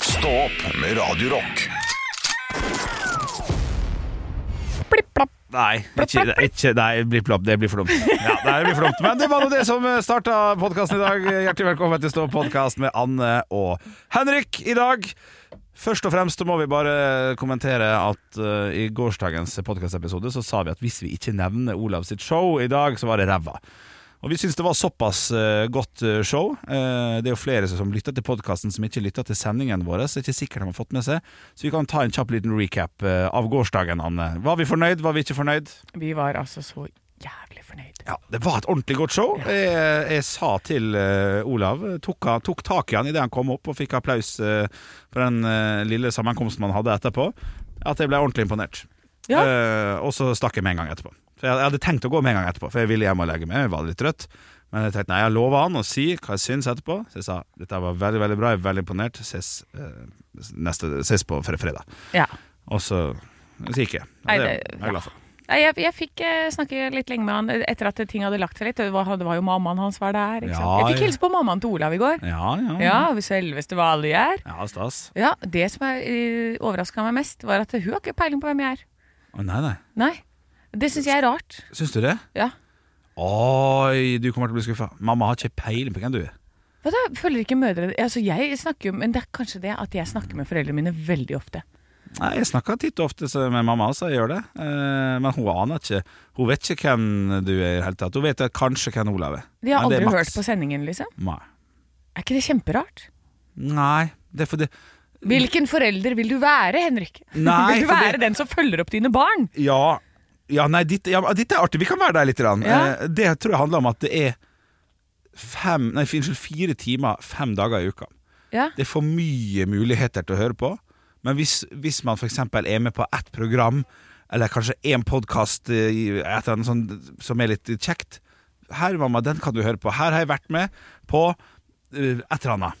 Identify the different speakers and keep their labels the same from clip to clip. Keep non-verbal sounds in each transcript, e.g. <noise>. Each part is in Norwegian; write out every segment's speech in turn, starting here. Speaker 1: Stå opp med Radio Rock.
Speaker 2: Nei, ikke, ikke, nei bli plapp, det blir for dumt. Ja, nei, det blir for dumt. Men det var nå det som starta podkasten i dag. Hjertelig velkommen til Stå podkast med Anne og Henrik i dag. Først og fremst så må vi bare kommentere at eh, i gårsdagens podkastepisode så sa vi at hvis vi ikke nevner Olav sitt show i dag, så var det ræva. Og vi syns det var såpass eh, godt eh, show. Eh, det er jo flere som lytter til podkasten som ikke lytter til sendingen vår, så det er ikke sikkert de har fått med seg. Så vi kan ta en kjapp liten recap eh, av gårsdagen, Anne. Var vi fornøyd, var vi ikke fornøyd?
Speaker 3: Vi var altså så jævlig fornøyd.
Speaker 2: Ja, det var et ordentlig godt show. Jeg, jeg sa til eh, Olav, tok, han- tok tak i han idet han kom opp og fikk applaus eh, på den eh, lille sammenkomsten man hadde etterpå, at jeg ble ordentlig imponert.
Speaker 3: Ja.
Speaker 2: Eh, og så stakk jeg med en gang etterpå. For jeg, jeg hadde tenkt å gå med en gang etterpå, for jeg ville hjem og legge meg. Jeg var litt trøtt. Men jeg tenkte nei, jeg lover han å si hva jeg syns etterpå. Så jeg sa dette var veldig veldig bra, jeg er veldig imponert. Ses, eh, neste, ses på fre- fredag.
Speaker 3: Ja.
Speaker 2: Og så, så gikk jeg. Og
Speaker 3: Nei,
Speaker 2: det er
Speaker 3: det-
Speaker 2: jeg glad for.
Speaker 3: Nei, jeg, jeg fikk eh, snakke litt lenge med han etter at ting hadde lagt seg litt. og Det var, det var jo mammaen hans var der. Ikke sant?
Speaker 2: Ja,
Speaker 3: jeg fikk
Speaker 2: ja.
Speaker 3: hilse på mammaen til Olav i går.
Speaker 2: Ja, ja.
Speaker 3: Ja, selveste hva alle gjør.
Speaker 2: ja stas.
Speaker 3: Ja, det som uh, overraska meg mest, var at hun har ikke peiling på hvem jeg er.
Speaker 2: Å, nei, nei.
Speaker 3: Nei. Det syns jeg er rart.
Speaker 2: Syns du det?
Speaker 3: Ja.
Speaker 2: Oi, du kommer til å bli skuffa. Mamma har ikke peiling på hvem du er.
Speaker 3: Hva da, følger ikke mødre Altså, jeg snakker jo Men det er kanskje det at jeg snakker med foreldrene mine veldig ofte.
Speaker 2: Nei, Jeg snakker titt og ofte så- med mamma, så jeg gjør det. Eh, Men hun aner ikke Hun vet ikke hvem du er i det hele tatt. Hun vet kanskje hvem Olav er.
Speaker 3: De har
Speaker 2: Men det er
Speaker 3: aldri hørt
Speaker 2: maks.
Speaker 3: på sendingen, liksom.
Speaker 2: Nei.
Speaker 3: Er ikke det kjemperart?
Speaker 2: Nei, det er fordi
Speaker 3: Hvilken forelder vil du være, Henrik?
Speaker 2: <laughs> Nei,
Speaker 3: vil du
Speaker 2: for
Speaker 3: være
Speaker 2: det-
Speaker 3: den som følger opp dine barn?
Speaker 2: Ja, ja nei, ditt, ja, ditt er artig. Vi kan være der litt. grann.
Speaker 3: Ja.
Speaker 2: Eh, Det tror jeg handler om at det er fem, nei, unnskyld, fire timer fem dager i uka.
Speaker 3: Ja.
Speaker 2: Det er for mye muligheter til å høre på. Men hvis, hvis man f.eks. er med på ett program, eller kanskje én podkast sånn, som er litt kjekt Her, mamma, den kan du høre på. Her har jeg vært med på eh, et eller annet.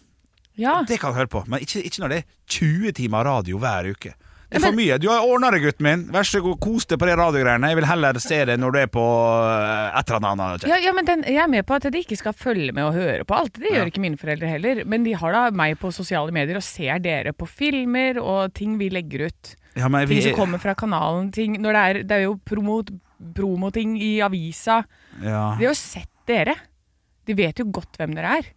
Speaker 3: ja.
Speaker 2: Det kan du høre på, men ikke, ikke når det er 20 timer radio hver uke. Det er
Speaker 3: Ja,
Speaker 2: for mye. Du har ordna det, gutten min. Vær så god, kos deg på de radiogreiene. Jeg vil heller se det når du er på eh, et eller annet.
Speaker 3: Ja, ja, men den, Jeg er med på at de ikke skal følge med og høre på alt. Det
Speaker 2: Ja.
Speaker 3: gjør ikke mine foreldre heller. Men de har da meg på sosiale medier og ser dere på filmer og ting vi legger ut.
Speaker 2: Ja, men
Speaker 3: Ting
Speaker 2: vi-
Speaker 3: som kommer fra kanalen. Ting, når det, er, det er jo promo- promoting i avisa.
Speaker 2: Ja.
Speaker 3: De har jo sett dere. De vet jo godt hvem dere er.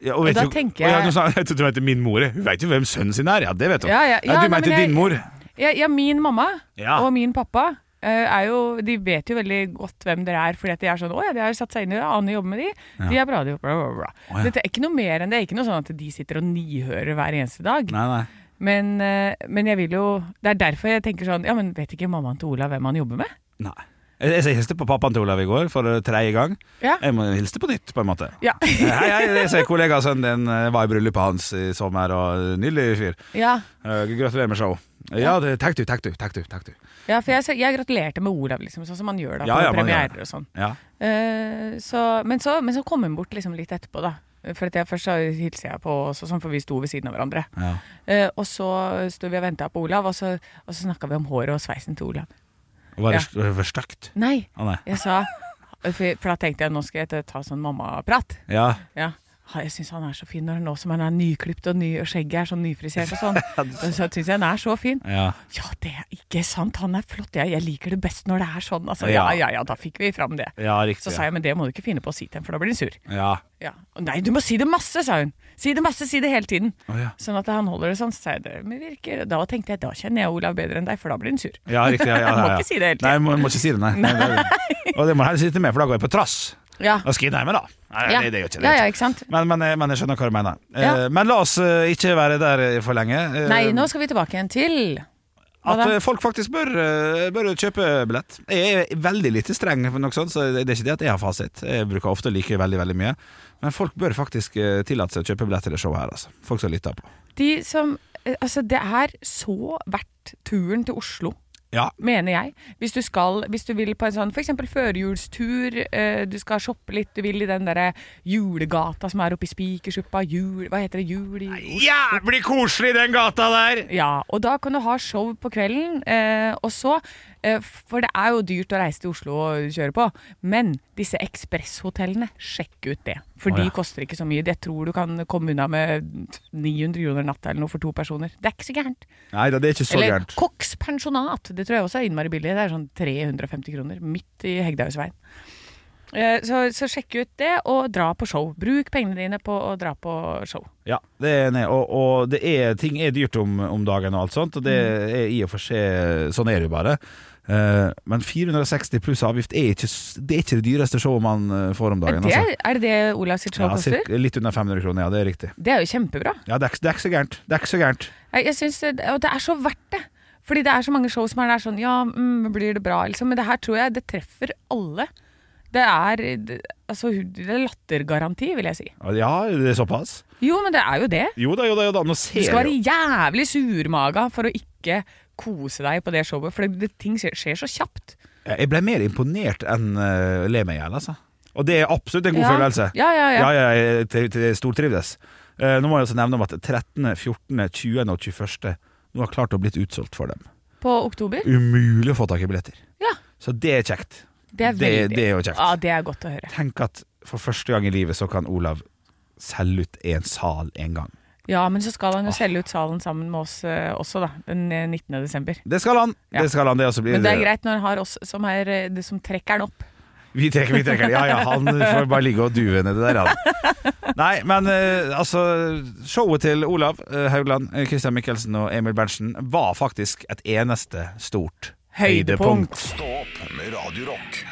Speaker 2: Ja, og vet
Speaker 3: da
Speaker 2: jo-
Speaker 3: tenker
Speaker 2: Å, ja,
Speaker 3: jeg-
Speaker 2: du sa, <laughs> jeg trodde du mente min mor. Hun vet jo hvem sønnen sin er. Ja, det vet hun.
Speaker 3: Ja, ja. Ja,
Speaker 2: du
Speaker 3: nei,
Speaker 2: mente
Speaker 3: men jeg-
Speaker 2: din mor.
Speaker 3: Ja, ja min mamma
Speaker 2: Ja.
Speaker 3: og min pappa eh, er jo, de vet jo veldig godt hvem dere er, fordi at de er sånn 'Å ja, de har jo satt seg inn i det, aner jobber med de'. De er bra, de bla, bla, bla.
Speaker 2: Å, ja.
Speaker 3: Dette er ikke noe mer enn det. Det er ikke noe sånn at de sitter og nihører hver eneste dag.
Speaker 2: Nei, nei.
Speaker 3: Men, eh, men jeg vil jo Det er derfor jeg tenker sånn Ja, men vet ikke mammaen til Olav hvem han jobber med?
Speaker 2: nei. Jeg, jeg, hilste på pappaen til Olav i går for eh, tredje gang.
Speaker 3: Ja.
Speaker 2: Jeg må hilse på nytt, på en
Speaker 3: <laughs>
Speaker 2: måte.
Speaker 3: Ja.
Speaker 2: Eh, Hei, hei, det er så kollega sønnen din eh, var i bryllupet hans i sommer, og nydelig fyr.
Speaker 3: ja.
Speaker 2: Eh, gratulerer med show. Ja, det- takk du, takk du, takk du. Takk du.
Speaker 3: ja for jeg, ser- jeg gratulerte med Olav, liksom, sånn som man gjør da på
Speaker 2: Ja, ja, man gjør det.
Speaker 3: premierer og sånn.
Speaker 2: Ja.
Speaker 3: Eh, så, men, så, men så kom hun bort liksom litt etterpå, da. For at jeg først så hilser jeg på også, sånn, for vi sto ved siden av hverandre.
Speaker 2: Ja.
Speaker 3: Eh, og så sto vi og venta på Olav, og så, og så snakka vi om håret og sveisen til Olav.
Speaker 2: Var det
Speaker 3: Ja.
Speaker 2: var det for stygt?
Speaker 3: Nei,
Speaker 2: Å nei.
Speaker 3: jeg sa For, for da tenkte jeg nå skal jeg ta sånn mammaprat.
Speaker 2: Ja.
Speaker 3: Ja. «Ha, Jeg syns han er så fin når han- nå som han er nyklipt og, ny, og skjegget er sånn nyfrisert og <laughs> sånn. Så syns jeg han er så fin.
Speaker 2: Ja.
Speaker 3: Ja, det er ikke sant. Han er flott. Jeg, jeg liker det best når det er sånn. Altså,
Speaker 2: Ja.
Speaker 3: ja, ja, ja, da fikk vi fram det.
Speaker 2: ja, riktig.
Speaker 3: Så sa jeg, men det må du ikke finne på å si til ham, for da blir han sur.
Speaker 2: Ja.
Speaker 3: Ja. «Å, Nei, du må si det masse, sa hun. Si det masse, si det hele tiden.
Speaker 2: Å, ja.
Speaker 3: Sånn at han holder det sånn. Så sa jeg, det virker. Da tenkte jeg, da kjenner jeg Olav bedre enn deg, for da blir hun sur. <laughs>
Speaker 2: Ja, riktig. Ja, ja, ja, ja.
Speaker 3: Må ikke si det hele tiden.
Speaker 2: Nei, må, må ikke si det,
Speaker 3: <laughs>
Speaker 2: nei. nei. det- Og det må jeg helst ikke med, for da går jeg på trass.
Speaker 3: Ja.
Speaker 2: Da skal jeg nærme, da. Nei,
Speaker 3: Ja.
Speaker 2: det, det gjør ikke det.
Speaker 3: ja,
Speaker 2: gjør
Speaker 3: ja,
Speaker 2: ikke.
Speaker 3: ikke sant.
Speaker 2: Men, men, jeg- men jeg skjønner hva du mener. Eh,
Speaker 3: Ja.
Speaker 2: Men la oss eh, ikke være der eh, for lenge. Eh,
Speaker 3: Nei, nå skal vi tilbake igjen til hva
Speaker 2: At
Speaker 3: da?
Speaker 2: eh, folk faktisk bør, eh, bør kjøpe billett. Jeg er veldig lite streng, for noe sånt, så det er ikke det at jeg har fasit. Jeg bruker ofte å like veldig veldig mye. Men folk bør faktisk eh, tillate seg å kjøpe billett til det showet her. Altså. Folk som lytter på.
Speaker 3: De som eh, Altså, det er så verdt turen til Oslo.
Speaker 2: Ja,
Speaker 3: Mener jeg. Hvis du skal, hvis du vil på en sånn f.eks. førjulstur, eh, du skal shoppe litt, du vil i den derre julegata som er oppe i Spikersuppa, jul Hva heter det? Jul i Oslo?
Speaker 2: Jævlig koselig i den gata der!
Speaker 3: Ja, og da kan du ha show på kvelden, eh, og så Eh, For det er jo dyrt å reise til Oslo og kjøre på. Men disse ekspresshotellene, sjekk ut det. For
Speaker 2: Å, ja.
Speaker 3: de koster ikke så mye. Jeg tror du kan komme unna med 900 kroner natta eller noe for to personer. Det er ikke så gærent.
Speaker 2: Nei da, det er ikke så
Speaker 3: Eller
Speaker 2: gærent.
Speaker 3: Koks pensjonat. Det tror jeg også er innmari billig. Det er sånn 350 kroner midt i Hegdehaugsveien. Eh, Så, så sjekk ut det, og dra på show. Bruk pengene dine på å dra på show.
Speaker 2: Ja, det er, nei, og, og det er, ting er dyrt om, om dagen og alt sånt, og det er i og for seg Sånn er det jo bare. Eh, men 460 pluss avgift er ikke, s- det er ikke det dyreste showet man eh, får om
Speaker 3: Er
Speaker 2: dagen.
Speaker 3: det,
Speaker 2: altså.
Speaker 3: er det det Olav sitt show
Speaker 2: Ja,
Speaker 3: koster?
Speaker 2: cirka, litt under 500 kroner, ja, det er riktig.
Speaker 3: Det er jo kjempebra.
Speaker 2: Ja, det er, ikke- det er ikke så gærent. Det er ikke så gærent.
Speaker 3: Jeg, jeg synes det, og det er så verdt det. Fordi det er så mange show som er der sånn Ja, mm, blir det bra? Liksom. Men det her tror jeg det treffer alle. Det er, det, altså, det er lattergaranti, vil jeg si.
Speaker 2: Ja, det er såpass.
Speaker 3: Jo, men det er jo det.
Speaker 2: Jo da, jo da, jo da. Nå
Speaker 3: Du
Speaker 2: ser
Speaker 3: skal
Speaker 2: jeg
Speaker 3: være jævlig surmaga for å ikke kose deg på det showet. For det, det, ting skjer, skjer så kjapt.
Speaker 2: jo Jeg ble mer imponert enn uh, le meg i hjel, altså. Og det er absolutt en god
Speaker 3: ja.
Speaker 2: følelse.
Speaker 3: Ja, ja, ja.
Speaker 2: Ja, ja, jeg til- til- stortrivdes. Eh, nå må jeg også nevne om at 13., 14., 20. og 21. nå har klart å blitt utsolgt for dem.
Speaker 3: På oktober.
Speaker 2: Umulig å få tak i billetter.
Speaker 3: Ja.
Speaker 2: Så det er kjekt.
Speaker 3: Det er
Speaker 2: det,
Speaker 3: veldig
Speaker 2: det er jo kjekt.
Speaker 3: Ja, det er godt å høre.
Speaker 2: Tenk at for første gang i livet så kan Olav selge ut en sal en gang.
Speaker 3: Ja, men så skal han jo selge ut salen sammen med oss eh, også, da. Den eh, 19. desember.
Speaker 2: Det skal han!
Speaker 3: Ja.
Speaker 2: Det skal han, det også blir
Speaker 3: Men det er greit når han har oss som, er, eh, det som trekker den opp.
Speaker 2: Vi trekker, vi trekker. Ja, ja, han får bare ligge og duve nedi der, han. Nei, men eh, altså Showet til Olav eh, Haugland, eh, Christian Michelsen og Emil Berntsen var faktisk et eneste stort
Speaker 3: Høydepunkt.
Speaker 1: Stå opp med Radio Rock.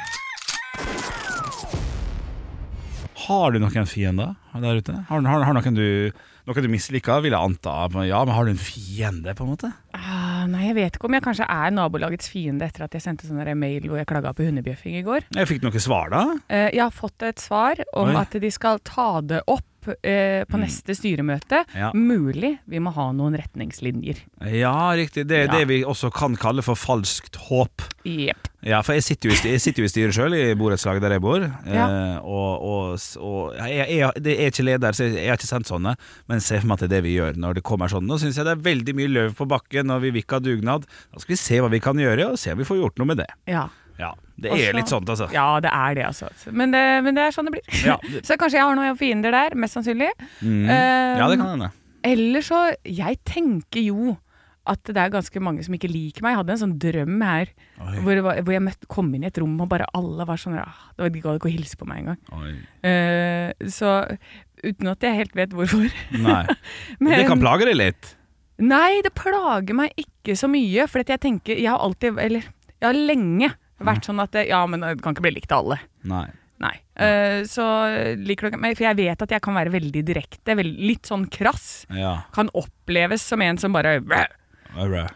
Speaker 2: Har du noen fiender der ute? Har, har, har noen, du, noen du misliker, vil jeg anta. Men Ja, men har du en fiende, på en måte?
Speaker 3: Ah, nei, jeg vet ikke om jeg kanskje er nabolagets fiende etter at jeg sendte sånn der mail hvor jeg klaga på hundebjøffing i går.
Speaker 2: Jeg fikk noen svar, da.
Speaker 3: Eh, jeg har fått et svar om
Speaker 2: Oi. Mm.
Speaker 3: at de skal ta det opp eh, på neste styremøte.
Speaker 2: Ja.
Speaker 3: Mulig vi må ha noen retningslinjer.
Speaker 2: Ja, riktig. Det er
Speaker 3: Ja.
Speaker 2: det vi også kan kalle for falskt håp.
Speaker 3: Jepp.
Speaker 2: Ja, for jeg sitter jo i, styr- jeg sitter jo i styret sjøl, i borettslaget der jeg bor.
Speaker 3: Ja.
Speaker 2: Eh, og og, s- og jeg, jeg, jeg er ikke leder, så jeg har ikke sendt sånne. Men se for meg at det er det vi gjør når det kommer sånn. Nå syns jeg det er veldig mye løv på bakken, og vi vil ikke ha dugnad. Da skal vi se hva vi kan gjøre, og se om vi får gjort noe med det.
Speaker 3: Ja.
Speaker 2: Ja, Det
Speaker 3: Og så-
Speaker 2: er litt sånt, altså.
Speaker 3: ja, det er det, altså. Men det, men det er sånn det blir.
Speaker 2: Ja.
Speaker 3: <laughs> så kanskje jeg har noen fiender der, mest sannsynlig.
Speaker 2: Mm.
Speaker 3: Eh,
Speaker 2: ja det kan hende.
Speaker 3: Eller så Jeg tenker jo at det er ganske mange som ikke liker meg. Jeg hadde en sånn drøm her
Speaker 2: Oi.
Speaker 3: hvor, det var- hvor jeg møtte, kom inn i et rom, og bare alle var sånn ah, Det var de gadd ikke å hilse på meg engang.
Speaker 2: Oi.
Speaker 3: Uh, så uten at jeg helt vet hvorfor. <laughs>
Speaker 2: Nei. det kan plage deg litt.
Speaker 3: Nei, det plager meg ikke så mye, for at jeg tenker Jeg har alltid, eller jeg har lenge vært
Speaker 2: Mm.
Speaker 3: sånn at det- Ja, men det kan ikke bli likt av alle.
Speaker 2: Nei.
Speaker 3: Nei. Eh, så liker du ikke meg, for jeg vet at jeg kan være veldig direkte, vel- litt sånn krass.
Speaker 2: Ja.
Speaker 3: Kan oppleves som en som bare "Bæ!"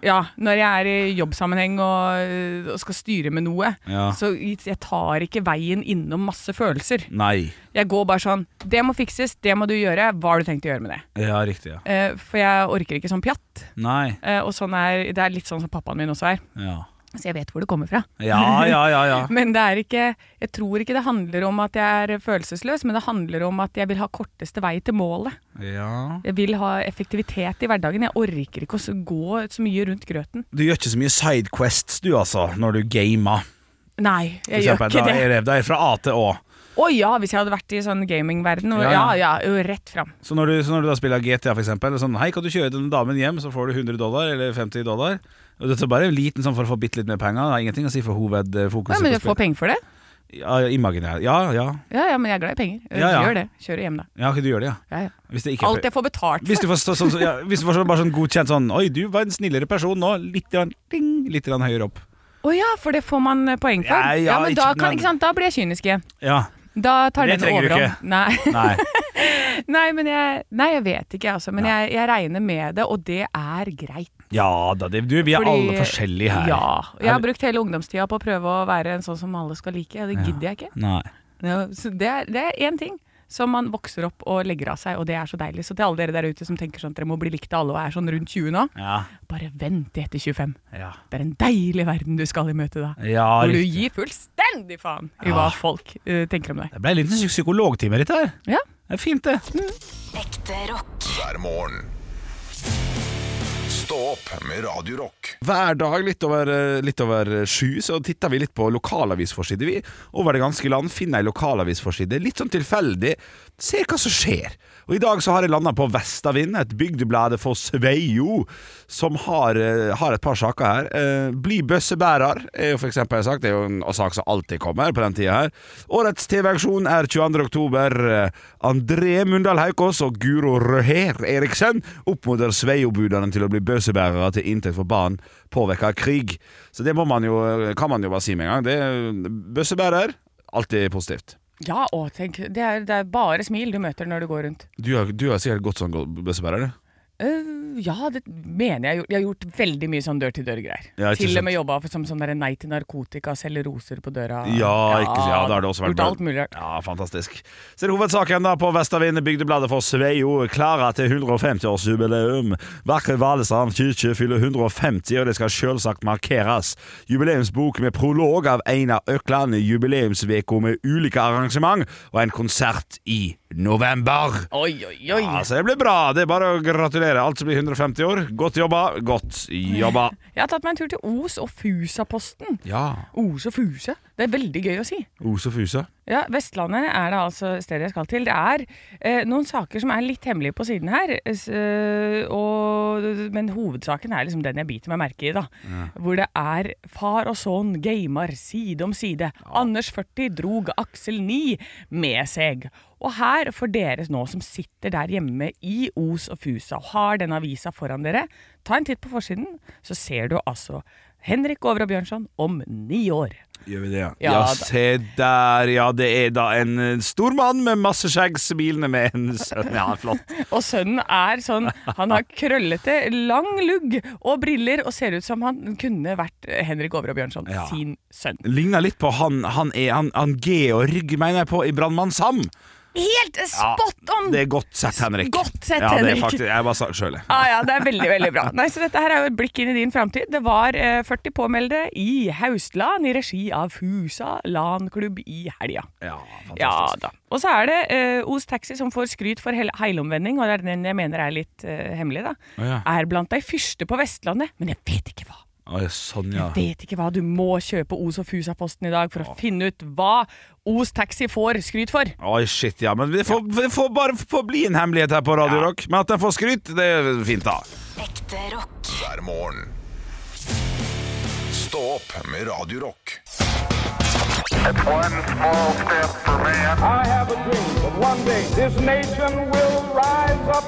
Speaker 3: Ja, når jeg er i jobbsammenheng og, og skal styre med noe,
Speaker 2: Ja.
Speaker 3: så jeg tar ikke veien innom masse følelser.
Speaker 2: Nei.
Speaker 3: Jeg går bare sånn Det må fikses, det må du gjøre. Hva har du tenkt å gjøre med det?
Speaker 2: Ja, riktig. ja.
Speaker 3: Eh, for jeg orker ikke sånn pjatt.
Speaker 2: Nei.
Speaker 3: Eh, og sånn er, det er litt sånn som pappaen min også er.
Speaker 2: Ja.
Speaker 3: Så jeg vet hvor det kommer fra.
Speaker 2: Ja, ja, ja. ja.
Speaker 3: Men det er ikke, jeg tror ikke det handler om at jeg er følelsesløs, men det handler om at jeg vil ha korteste vei til målet.
Speaker 2: ja.
Speaker 3: Jeg vil ha effektivitet i hverdagen. Jeg orker ikke å s- gå så mye rundt grøten.
Speaker 2: Du gjør ikke så mye sidequests du altså Når du gamer
Speaker 3: Nei,
Speaker 2: For
Speaker 3: jeg gjør
Speaker 2: eksempel,
Speaker 3: ikke
Speaker 2: da
Speaker 3: det.
Speaker 2: er det- Da er det fra A til Å
Speaker 3: Å ja, hvis jeg hadde vært i sånn gamingverden. og-
Speaker 2: Ja,
Speaker 3: Ja, ja, jo, rett fram.
Speaker 2: så når, du, så når du da spiller GTA for eksempel sånn, Hei, kan du kjøre den damen hjem Så får du 100 dollar eller 50 dollar Og det er bare en liten sånn for å få bitte litt mer penger Det har ingenting å si for hovedfokuset
Speaker 3: Ja, men
Speaker 2: på
Speaker 3: du får
Speaker 2: spillet.
Speaker 3: penger for det?
Speaker 2: ja, ja, imaginær. Ja, ja
Speaker 3: Ja, ja, men jeg er glad i penger.
Speaker 2: Ja, ja.
Speaker 3: Gjør det. Kjør hjem, da.
Speaker 2: Ja, ok, du gjør det, ja
Speaker 3: Ja, ja.
Speaker 2: Hvis det ikke
Speaker 3: Alt jeg får betalt
Speaker 2: hvis
Speaker 3: for.
Speaker 2: du får, så, sånn- ja, hvis du får sånn, bare sånn godkjent sånn Oi, du var en snillere person nå Litt, grann, ding, litt grann høyere opp
Speaker 3: Å ja, for det får man eh, poeng for.
Speaker 2: Ja,
Speaker 3: Ja,
Speaker 2: ja,
Speaker 3: men da,
Speaker 2: ikke-
Speaker 3: kan, ikke sant? da blir jeg kynisk igjen.
Speaker 2: Ja,
Speaker 3: Da tar
Speaker 2: Det
Speaker 3: den
Speaker 2: trenger du
Speaker 3: overhånd.
Speaker 2: ikke.
Speaker 3: Nei. <laughs>
Speaker 2: nei
Speaker 3: Nei, men jeg, nei, jeg vet ikke, jeg, altså. Men
Speaker 2: Nei.
Speaker 3: jeg, jeg regner med det, og det er greit.
Speaker 2: Ja, da, det, du, vi er
Speaker 3: Fordi-
Speaker 2: alle forskjellige her
Speaker 3: Ja. Jeg
Speaker 2: Er-
Speaker 3: har brukt hele ungdomstida på å prøve å være en sånn som alle skal like. Det
Speaker 2: Ja.
Speaker 3: gidder jeg ikke.
Speaker 2: Nei
Speaker 3: Ja, Så det, er, det er én ting som man vokser opp og legger av seg, og det er så deilig. Så til alle dere der ute som tenker sånn at dere må bli likt av alle og er sånn rundt 20 nå,
Speaker 2: Ja,
Speaker 3: bare vent til etter 25.
Speaker 2: ja
Speaker 3: Det er en deilig verden du skal i møte da.
Speaker 2: Ja,
Speaker 3: Hvor du
Speaker 2: riktig.
Speaker 3: gir fullstendig faen i
Speaker 2: Ja.
Speaker 3: hva folk eh, tenker om deg.
Speaker 2: Det ble en liten psy- psykologtime, dette her.
Speaker 3: Ja.
Speaker 2: Det er fint, det.
Speaker 4: Ekte rock.
Speaker 1: Hver morgen. Stå Stå opp med Radio Rock.
Speaker 2: Hver dag litt over, litt over sju så titter vi litt på lokalavisforsider. Vi over det ganske land finner ei lokalavisforside, litt sånn tilfeldig. Ser hva som skjer. Og I dag så har jeg landa på Vestavind, et bygdeblad for Sveio, som har, eh, har et par saker her. Eh, Bli bøssebærer er jo for eksempel en sak. Det er jo en sak som alltid kommer på den tida her. Årets TV-aksjon er 22. oktober. Eh, André Mundal Haukås og Guro Røher Eriksen oppfordrer Sveio-budene til å bli bøssebærere til inntekt for barn påvirka av krig. Så det må man jo, kan man jo bare si med en gang. Det er Bøssebærer, alltid positivt.
Speaker 3: Ja, å, tenk. Det er, det er bare smil du møter når du går rundt.
Speaker 2: Du har, du har sikkert gått sånn gå- bøssebærer, du?
Speaker 3: Øh, ja, det mener jeg. har gjort. Jeg har gjort veldig mye sånn dør-til-dør-greier.
Speaker 2: Ja, ikke
Speaker 3: til
Speaker 2: sant.
Speaker 3: og med jobba for- som sånn der nei til narkotika, selge roser på døra.
Speaker 2: Ja, ikke, ja, da har det også vært
Speaker 3: Gjort alt mulig rart.
Speaker 2: Ja, fantastisk. Ser hovedsaken da på Vestavind Bygdebladet for Sveio. Klara til 150-årsjubileum. Vakre Valestrand kirke fyller 150, og det skal selvsagt markeres. Jubileumsbok med prolog av Einar Økland. Jubileumsveko med ulike arrangement, og en konsert i november.
Speaker 3: Oi, oi, oi.
Speaker 2: Ja, så det blir bra. Det er bare å gratulere. Alt som blir 150 år. Godt jobba. Godt jobba.
Speaker 3: Jeg har tatt meg en tur til Os og Fusaposten.
Speaker 2: Ja.
Speaker 3: Os og Fusa. Det er veldig gøy å si.
Speaker 2: Os og Fusa.
Speaker 3: Ja, Vestlandet er det altså stedet jeg skal til. Det er eh, noen saker som er litt hemmelige på siden her, s- eh, og, men hovedsaken er liksom den jeg biter meg merke i, da. Hvor det er far og sønn gamer side om side. Anders 40 drog Aksel 9 med seg. Og her, for dere nå som sitter der hjemme i Os og Fusa og har denne avisa foran dere, ta en titt på forsiden, så ser du altså Henrik Over og Bjørnson om ni år.
Speaker 2: Gjør vi det, ja?
Speaker 3: Ja,
Speaker 2: Ja,
Speaker 3: da.
Speaker 2: se der, ja. Det er da en eh, stor mann med masse skjegg smilende med en sønn. Ja, flott.
Speaker 3: Og sønnen er sånn Han har krøllete, lang lugg og briller og ser ut som han kunne vært Henrik Over og Bjørnson
Speaker 2: Ja.
Speaker 3: sin sønn.
Speaker 2: <laughs> Ligner litt på han, han, er, han, han Georg, mener jeg på, i Brannmann Sam.
Speaker 3: Helt
Speaker 2: Ja,
Speaker 3: spot on!
Speaker 2: Det er godt sett, Henrik.
Speaker 3: Godt sett,
Speaker 2: ja, det er
Speaker 3: Henrik.
Speaker 2: faktisk, jeg bare sa det sjøl, jeg.
Speaker 3: Ah, ja, det er veldig, veldig bra. Nei, så Dette her er jo et blikk inn i din framtid. Det var eh, 40 påmeldte i Haustland i regi av Fusa LAN-klubb i helga.
Speaker 2: Ja,
Speaker 3: Ja
Speaker 2: fantastisk.
Speaker 3: da. Og så er det eh, Os Taxi som får skryt for hel- heilomvending, og det er den jeg mener er litt eh, hemmelig, da.
Speaker 2: Å, ja.
Speaker 3: Er blant de første på Vestlandet, men jeg vet ikke hva.
Speaker 2: Å, ja, sånn, ja.
Speaker 3: Vet ikke hva, du må kjøpe Os og Fusa-posten i dag for å finne ut hva Os Taxi får skryt for.
Speaker 2: Oi, shit, ja. Men det får, det får bare få bli en hemmelighet her på Radio Rock. Men at den får skryt, det er fint, da.
Speaker 4: Ekte rock.
Speaker 1: hver morgen. Stå opp med Radio Rock.
Speaker 5: It's one small step for man.
Speaker 6: I have a dream that one day this nation will rise up.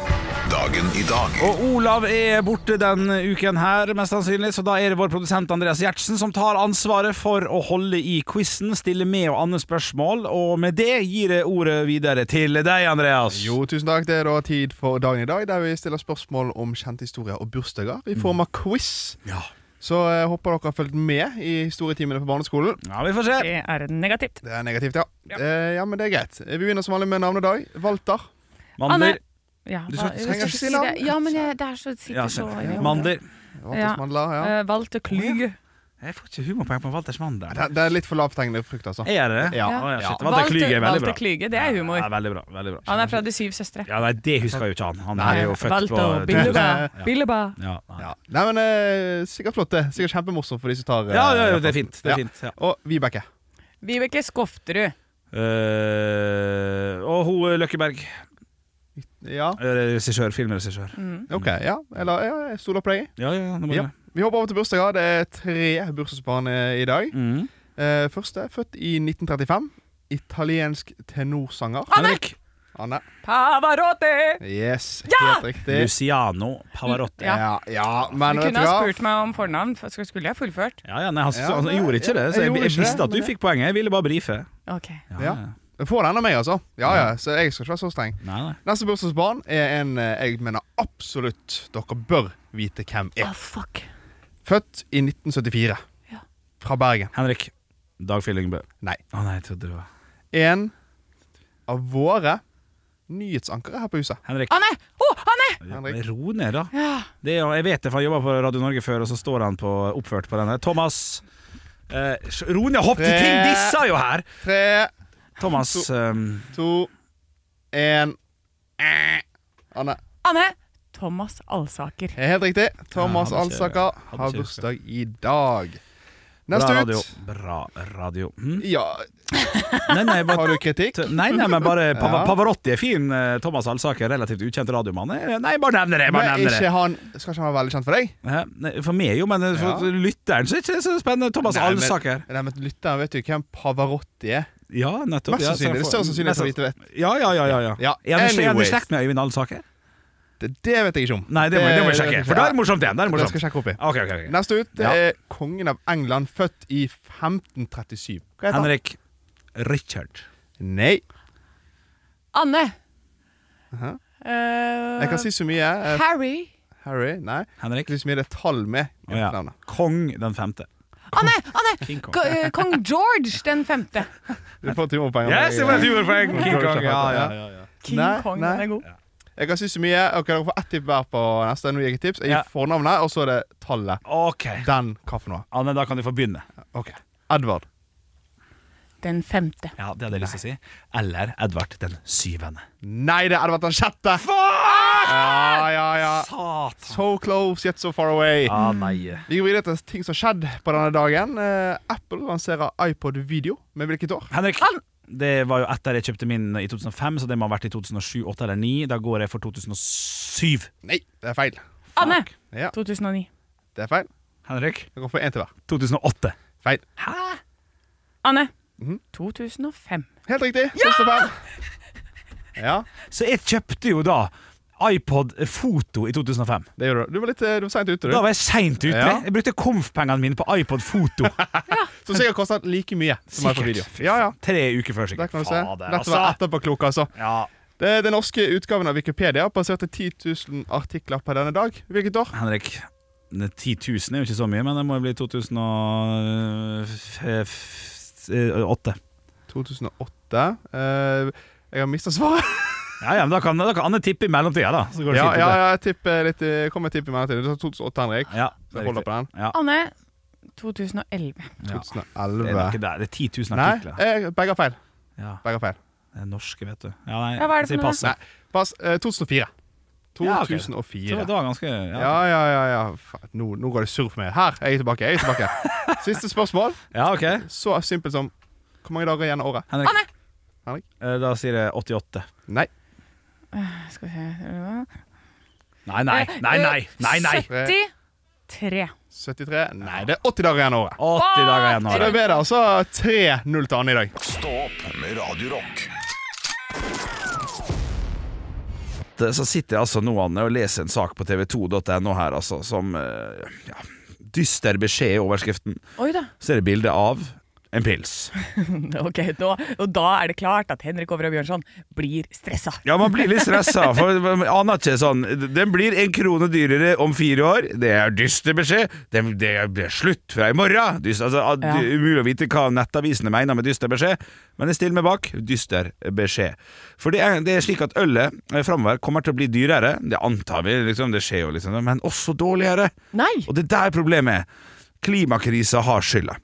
Speaker 1: Dagen i dag
Speaker 2: Og Olav er borte den uken her, mest sannsynlig, så da er det vår produsent Andreas Gjertsen som tar ansvaret for å holde i quizen, stille med og andre spørsmål, og med det gir jeg ordet videre til deg, Andreas.
Speaker 7: Jo, tusen takk. Det er da tid for dagen i dag, der vi stiller spørsmål om kjente historier og bursdager i form
Speaker 2: Mm.
Speaker 7: av quiz.
Speaker 2: Ja.
Speaker 7: Så jeg håper dere har fulgt med i historietimene på barneskolen.
Speaker 2: ja, vi får se.
Speaker 3: Det er negativt.
Speaker 7: Det er negativt, ja. Ja, eh, ja men det er greit. Vi begynner som vanlig med navnedag. Valter.
Speaker 2: Mandler.
Speaker 3: Ja,
Speaker 2: Du skal-
Speaker 3: hva-
Speaker 2: trenger
Speaker 3: jeg
Speaker 7: ikke
Speaker 3: skal
Speaker 7: si
Speaker 3: det.
Speaker 7: navn.
Speaker 3: Ja, men jeg, det er så sikkert
Speaker 2: Ja,
Speaker 3: så
Speaker 2: se. Mandler.
Speaker 3: Ja.
Speaker 7: Valters mandler, ja.
Speaker 3: Eh, Walter Klüg.
Speaker 2: Jeg får ikke humorpoeng på Walters mandler.
Speaker 7: Det, det er litt for lavthengende frukt, altså.
Speaker 2: Er det det?
Speaker 7: Ja.
Speaker 2: Å, ja, shit.
Speaker 3: Ja.
Speaker 2: Walter Klyge er veldig
Speaker 3: Walter
Speaker 2: bra.
Speaker 3: Klyge, det er humor.
Speaker 2: Ja, veldig bra, veldig bra.
Speaker 3: Han er fra De syv søstre. Eh,
Speaker 2: Ja, nei, det husker jo ikke han. Han er jo født på
Speaker 3: Walter Billeba.
Speaker 7: Ja.
Speaker 3: Billeba.
Speaker 2: Ja, nei.
Speaker 7: Ja. Nei, men eh, sikkert flott, det. Sikkert kjempemorsomt for de som tar eh,
Speaker 2: ja, ja, ja, det er fint. Det
Speaker 7: Ja.
Speaker 2: er fint ja.
Speaker 7: Og Vibeke.
Speaker 3: Vibeke Skofterud.
Speaker 2: Eh, og hun Løkkeberg.
Speaker 7: Ja,
Speaker 2: Regissør, filmregissør.
Speaker 3: Mm.
Speaker 7: OK. Ja, eller ja, jeg stoler på deg.
Speaker 2: Ja, ja, det må
Speaker 7: Ja.
Speaker 2: ja.
Speaker 7: Vi hopper over til bursdager. Det er tre bursdagsbarn eh, i dag.
Speaker 2: Mm.
Speaker 7: Eh, første, født i 1935. Italiensk tenorsanger.
Speaker 2: Henrik
Speaker 7: Anne.
Speaker 3: Pavarotti!
Speaker 7: Yes, helt riktig.
Speaker 2: Luciano Pavarotti.
Speaker 3: Ja.
Speaker 7: Ja, ja, men
Speaker 3: Du
Speaker 7: vet du
Speaker 3: kunne ha
Speaker 7: hva?
Speaker 3: spurt meg om fornavn. for- Skulle jeg fullført?
Speaker 2: Ja, ja, nei, han,
Speaker 7: Ja,
Speaker 2: han
Speaker 7: nei,
Speaker 2: gjorde ikke det, så jeg,
Speaker 7: jeg- jeg
Speaker 2: jeg
Speaker 7: gjorde ikke det,
Speaker 2: visste at du
Speaker 7: men
Speaker 2: fikk poenget. Jeg ville bare brife.
Speaker 3: Ok.
Speaker 7: Ja. Få den av meg, altså. Ja, ja, så jeg skal ikke være så streng.
Speaker 2: Nei, nei.
Speaker 7: Neste bursdagsbarn er en eh, jeg mener absolutt dere bør vite hvem
Speaker 3: Å,
Speaker 7: er.
Speaker 3: fuck.
Speaker 7: Født i 1974.
Speaker 3: Ja.
Speaker 7: Fra Bergen.
Speaker 2: Henrik. Dagfjell Lyngbø.
Speaker 7: Nei.
Speaker 2: Å nei, jeg trodde det var
Speaker 7: En av våre nyhetsankere her på huset.
Speaker 2: Henrik.
Speaker 3: Anne! Å, Anne!
Speaker 7: Henrik.
Speaker 2: Ro ned, da.
Speaker 3: Ja.
Speaker 2: Det, er jo- jeg vet det, for han jobba på Radio Norge før, og så står han på, oppført på denne. Thomas eh, Ro ned, hopp til ting!
Speaker 7: Eh.
Speaker 2: Dissa jo her!
Speaker 7: Tre,
Speaker 2: Thomas eh,
Speaker 7: to, én Eh. Anne.
Speaker 3: Anne Thomas Alsaker.
Speaker 7: Helt riktig. Thomas
Speaker 2: Ja, hadde ikke-
Speaker 7: Alsaker
Speaker 2: hadde
Speaker 7: har
Speaker 2: ikke
Speaker 7: bursdag i dag.
Speaker 2: Bra
Speaker 7: Neste
Speaker 2: radio.
Speaker 7: ut
Speaker 2: Bra radio. Hm?
Speaker 7: Ja,
Speaker 2: Nei, nei, bare,
Speaker 7: har du kritikk?
Speaker 2: nei, nei, men
Speaker 7: <laughs>
Speaker 2: bare Pava-
Speaker 7: Ja.
Speaker 2: Pavarotti er fin. eh, Thomas Alsaker, relativt ukjent radiomann. Eh, Nei, bare nevner det!
Speaker 7: Men
Speaker 2: Bare
Speaker 7: er
Speaker 2: nevner
Speaker 7: ikke
Speaker 2: det.
Speaker 7: han, skal ikke han være veldig kjent for deg?
Speaker 2: Hæ? Nei, For meg, jo, men eh, for
Speaker 7: Ja.
Speaker 2: lytteren så er det ikke så spennende. Thomas
Speaker 7: Nei, men-
Speaker 2: Alsaker.
Speaker 7: Nei, men Lytteren vet jo hvem Pavarotti er.
Speaker 2: Ja, nettopp.
Speaker 7: Mest
Speaker 2: ja, så jeg
Speaker 7: sannsynlig. Det
Speaker 2: får-
Speaker 7: største sannsynlighet for å
Speaker 2: mest-
Speaker 7: vite vet.
Speaker 2: Ja, ja, ja. ja, ja.
Speaker 7: Ja,
Speaker 2: Er han i- er han i
Speaker 7: anyways.
Speaker 2: slekt med Øyvind Alsaker?
Speaker 7: Det, det vet jeg ikke om.
Speaker 2: Nei, det må, det må jeg sjekke. For da er det
Speaker 7: Ja,
Speaker 2: morsomt igjen. Det er
Speaker 7: det
Speaker 2: morsomt.
Speaker 7: skal jeg sjekke opp i.
Speaker 2: Ok, ok, ok.
Speaker 7: Neste ut det
Speaker 2: Ja.
Speaker 7: er kongen av England, født i 1537. Hva heter han?
Speaker 2: Henrik Richard.
Speaker 7: Nei.
Speaker 3: Anne.
Speaker 7: Aha.
Speaker 3: Eh,
Speaker 7: Jeg kan si så mye. eh,
Speaker 3: Harry.
Speaker 7: Harry? Nei.
Speaker 2: Henrik.
Speaker 7: Det er så mye det er tall med.
Speaker 2: Å, ja.
Speaker 7: etternavnet.
Speaker 2: Kong den femte.
Speaker 3: Anne! Anne!
Speaker 2: King Kong.
Speaker 3: Ko- eh, Kong George den femte.
Speaker 7: Du får timerpoeng.
Speaker 2: Yes, det var et humorpoeng! King Kong. Ja, ja, ja.
Speaker 3: King
Speaker 7: Nei,
Speaker 3: Kong,
Speaker 7: nei.
Speaker 3: den er god.
Speaker 7: Jeg kan si så mye. Ok, Dere får ett tipp hver på neste. Nå gir jeg tips. Jeg gir
Speaker 2: Ja.
Speaker 7: fornavnet, og så er det tallet.
Speaker 2: Ok.
Speaker 7: Den hva for noe?
Speaker 2: Anne, da kan du få begynne.
Speaker 7: Ok. Edvard.
Speaker 3: Den femte.
Speaker 2: Ja, Det hadde jeg lyst til å si. Eller Edvard den syvende.
Speaker 7: Nei, det er Edvard den sjette! Ja, ja, ja.
Speaker 2: Satan!
Speaker 7: So close, yet so far away.
Speaker 2: Ah, nei.
Speaker 7: Vi går videre til ting som skjedde på denne dagen. Eh, Apple lanserer iPod Video. Med hvilket år?
Speaker 2: Henrik. Det var jo etter jeg kjøpte min i 2005, så det må ha vært i 2007, 2008 eller 2009. Da går jeg for 2007.
Speaker 7: Nei, det er feil.
Speaker 3: Anne!
Speaker 7: Ja,
Speaker 3: 2009.
Speaker 7: det er feil.
Speaker 2: Henrik.
Speaker 7: Jeg går for én til hver.
Speaker 2: 2008.
Speaker 7: Feil.
Speaker 3: Anne. 2005.
Speaker 7: Helt riktig. Siste feil. Ja,
Speaker 2: Så jeg kjøpte jo da iPod Foto i 2005.
Speaker 7: det gjør du. Du var litt eh, du var seint ute,
Speaker 2: Da
Speaker 7: du.
Speaker 2: var jeg seint ute.
Speaker 7: Ja.
Speaker 2: Jeg brukte komfpengene mine på iPod Foto.
Speaker 7: Som sikkert kostet like mye <laughs> som iPod Video.
Speaker 2: Sikkert.
Speaker 7: Ja, ja.
Speaker 2: Tre uker før,
Speaker 7: Der
Speaker 2: sikkert.
Speaker 7: kan du se.
Speaker 2: Fader,
Speaker 7: Dette var etterpåklok, altså.
Speaker 2: Ja.
Speaker 7: Det, den norske utgaven av Wikipedia passerte 10 000 artikler på denne dag. Hvilket år?
Speaker 2: Henrik, det er 10 000 er jo ikke så mye, men det må jo bli 2008.
Speaker 7: 2008. Eh, jeg har mista svaret.
Speaker 2: Ja, ja, men da kan, da kan Anne tippe i mellomtida, da. Så går det
Speaker 7: Ja,
Speaker 2: fint.
Speaker 7: ja,
Speaker 2: ut,
Speaker 7: ja, jeg tipper litt eh, Kom med et tipp i mellomtiden. Du sa 2008, Henrik.
Speaker 2: det. ja. det
Speaker 7: Så jeg
Speaker 2: er
Speaker 7: holder
Speaker 2: riktig.
Speaker 7: på den.
Speaker 3: Anne. 2011.
Speaker 2: Ja. Det er
Speaker 7: 2011.
Speaker 2: noe der. Det er 10 000
Speaker 7: Nei,
Speaker 2: artikler.
Speaker 7: eh, begge har feil.
Speaker 2: Ja,
Speaker 7: Begge har feil.
Speaker 2: det er norske, vet du. Ja, nei,
Speaker 3: Ja, hva er det
Speaker 2: jeg sier
Speaker 3: for noe?
Speaker 2: pass,
Speaker 7: Nei,
Speaker 2: jeg.
Speaker 7: pass. Eh, 2004.
Speaker 2: Ja, ok.
Speaker 7: 2004.
Speaker 2: Så det var ganske ja.
Speaker 7: Ja, ja, ja. ja. Faen, Nå, nå går det surr for meg. Her, jeg er tilbake. jeg
Speaker 2: <laughs>
Speaker 7: er tilbake Siste spørsmål.
Speaker 2: ja, ok.
Speaker 7: Så simpelt som Hvor mange dager igjen av året?
Speaker 2: Henrik.
Speaker 3: Anne!
Speaker 7: Henrik.
Speaker 2: Eh, Da sier jeg 88.
Speaker 7: Nei.
Speaker 3: Skal vi se
Speaker 2: Nei, nei,
Speaker 3: Eh,
Speaker 2: nei, nei! nei, nei.
Speaker 3: 73.
Speaker 7: 73? Nei, det er 80 dager igjen av året.
Speaker 2: 80 dager igjen.
Speaker 7: Så
Speaker 2: nå,
Speaker 7: da
Speaker 2: da.
Speaker 7: ble det altså 3-0 til Anne i dag.
Speaker 1: Stå opp med Radio Rock.
Speaker 2: så sitter jeg altså nå Anne, og leser en sak på tv2.no her, altså, som eh, ja, Dyster beskjed i overskriften.
Speaker 3: Oi da.
Speaker 2: Så er det bilde av en pils.
Speaker 3: <laughs> Ok, nå, Og da er det klart at Henrik Over og Bjørnson blir stressa.
Speaker 2: Ja, man blir litt stressa, for man aner ikke sånn Den blir en krone dyrere om fire år. Det er dyster beskjed. Det, det blir slutt fra i morgen. Dyster, altså, ad-
Speaker 3: Ja.
Speaker 2: Umulig å vite hva nettavisene mener med dyster beskjed, men jeg stiller meg bak dyster beskjed. For det er, det er slik at ølet eh, framover kommer til å bli dyrere. Det antar vi, liksom. Det skjer jo, liksom. Men også dårligere.
Speaker 3: Nei!
Speaker 2: Og det er der problemet er. Klimakrisa har skylda.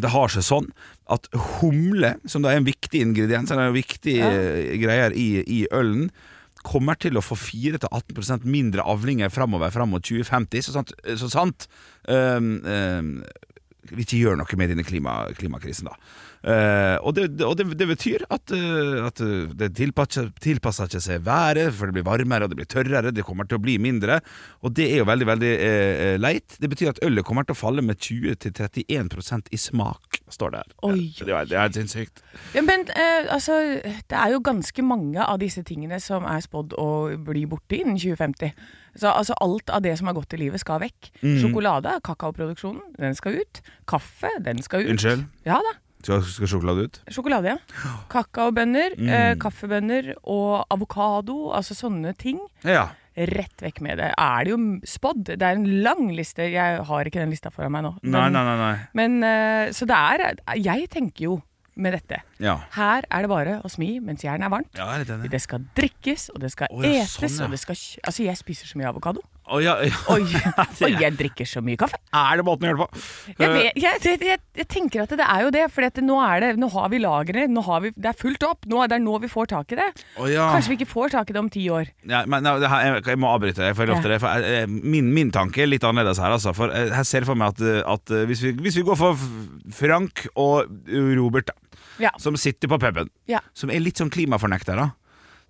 Speaker 2: Det har seg sånn at humle, som da er en viktig ingrediens, eller en viktig eh, greier i, i ølen, kommer til å få 4-18 mindre avlinger framover fram mot 2050. Så sant, så sant ehm, ehm, vi ikke gjør noe med denne klima, klimakrisen, da. Eh, og det, det- og det, det betyr at, eh, at eh, det tilpasser, tilpasser ikke seg været, for det blir varmere og det blir tørrere, det kommer til å bli mindre. Og det er jo veldig, veldig eh, eh, leit. Det betyr at ølet kommer til å falle med 20-31 i smak, står det her.
Speaker 3: Oi,
Speaker 2: det, er- det er sinnssykt.
Speaker 3: Ja, men eh, altså, det er jo ganske mange av disse tingene som er spådd å bli borte innen 2050. Så altså, alt av det som er godt i livet, skal vekk.
Speaker 2: Mhm.
Speaker 3: Sjokolade, kakaoproduksjonen, den skal ut. Kaffe, den skal ut.
Speaker 2: Unnskyld?
Speaker 3: Ja da.
Speaker 2: Skal, skal sjokolade ut?
Speaker 3: Sjokolade, ja. Kakaobønner,
Speaker 2: Mhm.
Speaker 3: eh, kaffebønner og avokado. Altså sånne ting.
Speaker 2: Ja.
Speaker 3: Rett vekk med det. Er det jo spådd? Det er en lang liste. Jeg har ikke den lista foran meg nå.
Speaker 2: Nei,
Speaker 3: Men-
Speaker 2: nei, nei. nei.
Speaker 3: Men, eh, så det er Jeg tenker jo med dette
Speaker 2: Ja.
Speaker 3: Her er det bare å smi mens jernet er varmt.
Speaker 2: Ja, jeg er litt enig.
Speaker 3: Det skal drikkes, og det skal
Speaker 2: Å, ja,
Speaker 3: etes,
Speaker 2: sånn, ja.
Speaker 3: og det skal kj- Altså, jeg spiser så mye
Speaker 2: <laughs>
Speaker 3: avokado.
Speaker 2: Å, ja, ja.
Speaker 3: Oi, og jeg drikker så mye kaffe.
Speaker 2: <laughs> Er det måten å gjøre det på?
Speaker 3: Jeg,
Speaker 2: Eh,
Speaker 3: vet, jeg, jeg, jeg, jeg tenker at det er jo det, for nå, er det, nå har vi lageret. nå har vi- Det er fullt opp. Nå, er- det er nå vi får tak i det.
Speaker 2: å, ja.
Speaker 3: Kanskje vi ikke får tak i det om ti år.
Speaker 2: Ja, men nei, det her, jeg, jeg må avbryte deg, for jeg lovte
Speaker 3: Ja.
Speaker 2: det. For jeg, jeg- min, min tanke er litt annerledes her. Altså, for jeg, jeg ser for meg at, eh, at eh, hvis, vi, hvis vi går for F- Frank og Robert, da,
Speaker 3: Ja.
Speaker 2: som sitter på puben,
Speaker 3: Ja.
Speaker 2: som er litt sånn klimafornektere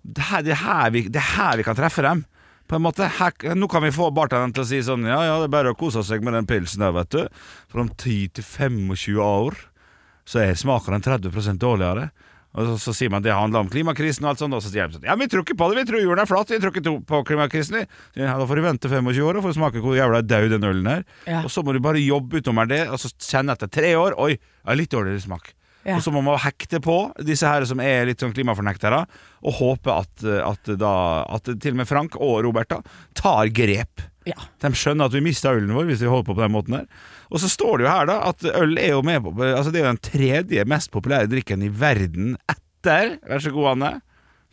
Speaker 2: det, her- det, her vi- det er her vi kan treffe dem. På en måte, her, nå kan vi få bartenderen til å si sånn Ja, ja, det er bare å kose seg med den pilsen der, vet du. For om 10 til 25 år så er smaker den 30 dårligere. Og så, så sier man det handler om klimakrisen og alt sånt, og så sier de sånn Ja, men vi tror ikke på det, vi tror jorden er flat, vi tror ikke to- på klimakrisen, vi. Så, Ja, da får du vente 25 år og få smake hvor jævla død den ølen er.
Speaker 3: Ja.
Speaker 2: Og så må du bare jobbe utover det, og så kjenne etter tre år Oi, jeg har litt dårligere smak.
Speaker 3: Ja.
Speaker 2: Og så må man hekte på disse her som er litt sånn klimafornektere, og håpe at, at, da, at til og med Frank og Robert da tar grep.
Speaker 3: Ja.
Speaker 2: De skjønner at vi mister ølen vår hvis vi holder på på den måten her. Og så står det jo her da at øl er jo med på Altså det er jo den tredje mest populære drikken i verden etter Vær så god, Anne.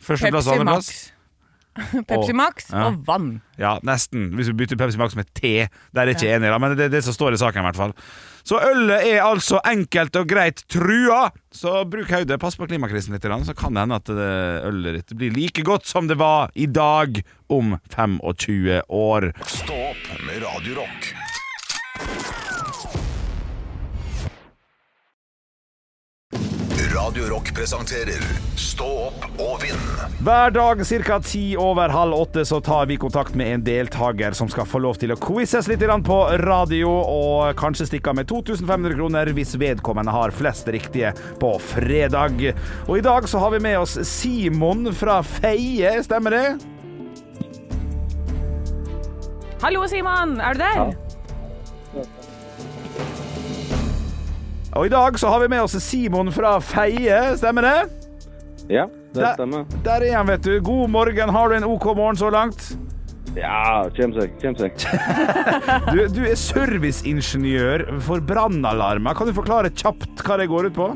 Speaker 2: Førsteplass,
Speaker 3: Pepsi
Speaker 2: andreplass.
Speaker 3: Max. <laughs> Pepsi Max
Speaker 2: Ja.
Speaker 3: og vann.
Speaker 2: Ja, nesten. Hvis vi bytter Pepsi Max med te. Der er jeg ikke enig, da, men det er det som står i saken. i hvert fall Så ølet er altså enkelt og greit trua. Så bruk hodet, pass på klimakrisen litt, grann, så kan det hende at det ølet ditt blir like godt som det var i dag om 25 år.
Speaker 1: Stå opp med Radio Rock. Radio Rock presenterer Stå opp og vinn.
Speaker 2: Hver dag ca. ti over halv åtte så tar vi kontakt med en deltaker som skal få lov til å quizes litt grann på radio, og kanskje stikke av med 2500 kroner hvis vedkommende har flest riktige på fredag. Og i dag så har vi med oss Simon fra Feie, stemmer det?
Speaker 3: Hallo, Simon! Er du der?
Speaker 2: Og i dag så har vi med oss Simon fra Feie, stemmer det?
Speaker 4: Ja, det
Speaker 2: Der-
Speaker 4: stemmer.
Speaker 2: Der er han, vet du. God morgen. Har du en OK morgen så langt?
Speaker 4: Ja, kjem seg, kjem seg.
Speaker 2: Du, du er serviceingeniør for brannalarmer. Kan du forklare kjapt hva det går ut på?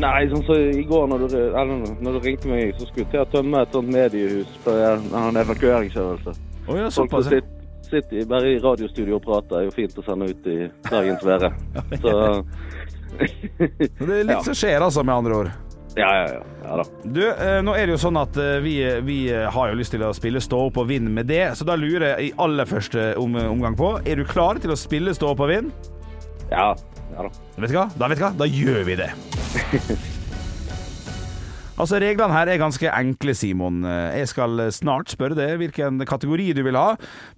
Speaker 4: Nei, sånn som i går når du, eller, når du ringte meg, så skulle jeg til å tømme et sånt mediehus på en en evakueringsøvelse.
Speaker 2: Oh, ja,
Speaker 4: Folk som sitter, sitter i- bare i radiostudio og prater, er jo fint å sende ut i Bergens være. Så <laughs>
Speaker 2: Det er litt
Speaker 4: Ja.
Speaker 2: som skjer, altså, med andre ord.
Speaker 4: ja, ja, ja. ja da.
Speaker 2: Du, eh, nå er det jo sånn at eh, vi, vi har jo lyst til å spille stå opp og vinn med det, så da lurer jeg i aller første om, omgang på Er du klar til å spille stå opp og vinn?
Speaker 4: Ja, ja da.
Speaker 2: Vet du hva? Da vet du hva? Da gjør vi det. Altså, Reglene her er ganske enkle, Simon. Jeg skal snart spørre deg hvilken kategori du vil ha.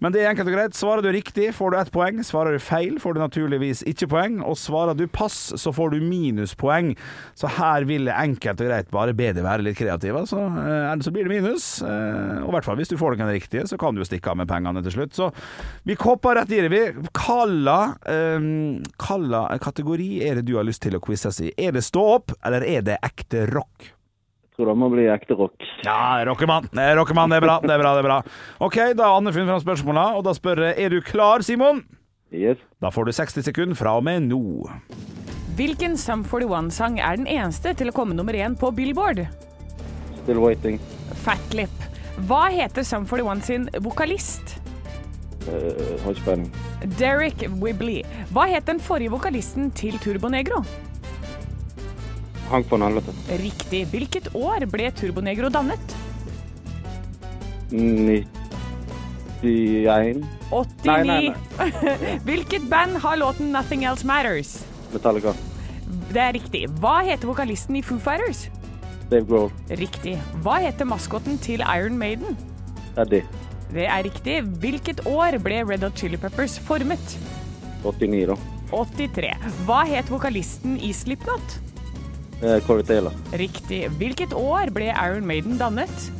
Speaker 2: Men det er enkelt og greit. Svarer du riktig, får du ett poeng. Svarer du feil, får du naturligvis ikke poeng. Og svarer du pass, så får du minuspoeng. Så her vil jeg enkelt og greit bare be deg være litt kreativ, altså. Eh, Ellers så blir det minus. Eh, Og i hvert fall hvis du får noen riktige, så kan du jo stikke av med pengene til slutt. Så vi kopper rett i det, vi. Kalla, eh, kalla kategori er det du har lyst til å quizes i. Er det stå opp, eller er det ekte rock?
Speaker 4: Tror det må bli ekte rock.
Speaker 2: Ja, rockemann. Eh, Rockemann, det er bra. det er bra, det er bra OK, da har Anne funnet fram spørsmåla, og da spør jeg er du klar, Simon?
Speaker 4: Yes.
Speaker 2: Da får du 60 sekunder fra og med nå.
Speaker 3: Hvilken Sum 41-sang er den eneste til å komme nummer én på Billboard?
Speaker 4: Still waiting.
Speaker 3: Fatlip. Hva heter Sum 41 sin vokalist?
Speaker 4: Eh, har ikke peiling.
Speaker 3: Derek Wibley. Hva het den forrige vokalisten til Turbonegro?
Speaker 4: Hank von helvete.
Speaker 3: Riktig. Hvilket år ble Turbonegro dannet?
Speaker 4: 91.
Speaker 3: 89.
Speaker 4: Nei, nei, nei.
Speaker 3: <laughs> Hvilket band har låten 'Nothing Else Matters'?
Speaker 4: Metallica.
Speaker 3: Det er riktig. Hva heter vokalisten i Foo Fighters?
Speaker 4: Dave Grohl.
Speaker 3: Riktig. Hva heter maskotten til Iron Maiden?
Speaker 4: Eddie.
Speaker 3: Det er riktig. Hvilket år ble Red Hot Chili Peppers formet?
Speaker 4: 89, da.
Speaker 3: 83. Hva het vokalisten i Slipknot?
Speaker 4: Eh, Corey Taylor.
Speaker 3: Riktig. Hvilket år ble Iron Maiden dannet?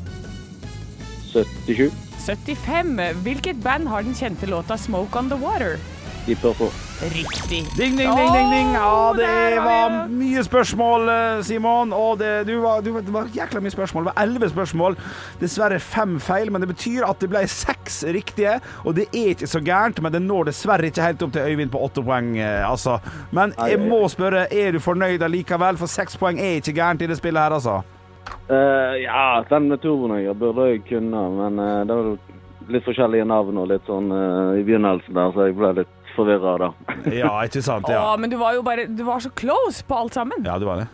Speaker 4: 77.
Speaker 3: 75. Hvilket band har den kjente låta 'Smoke On The Water'?
Speaker 4: Deep Purple.
Speaker 3: riktig.
Speaker 2: Ding, ding, ding, ding, ding. Ja,
Speaker 3: Åh,
Speaker 2: det
Speaker 3: der har vi
Speaker 2: var
Speaker 3: det.
Speaker 2: mye spørsmål, eh, Simon. Og det, du var, du, det var jækla mye spørsmål. Det var elleve spørsmål. Dessverre fem feil, men det betyr at det ble seks riktige. Og det er ikke så gærent, men det når dessverre ikke helt opp til Øyvind på åtte poeng, eh, altså. Men jeg må spørre, er du fornøyd allikevel? For seks poeng er ikke gærent i det spillet her,
Speaker 3: <laughs>
Speaker 2: altså.
Speaker 4: Eh, ja, den med turbonøyer burde jeg kunne, men eh, det var jo litt forskjellige navn og litt sånn eh, i begynnelsen der, så jeg ble litt forvirra da.
Speaker 2: Ja, ikke sant?
Speaker 3: Å,
Speaker 2: Ja,
Speaker 3: men du var jo bare Du var så close på alt sammen.
Speaker 2: ja det var det.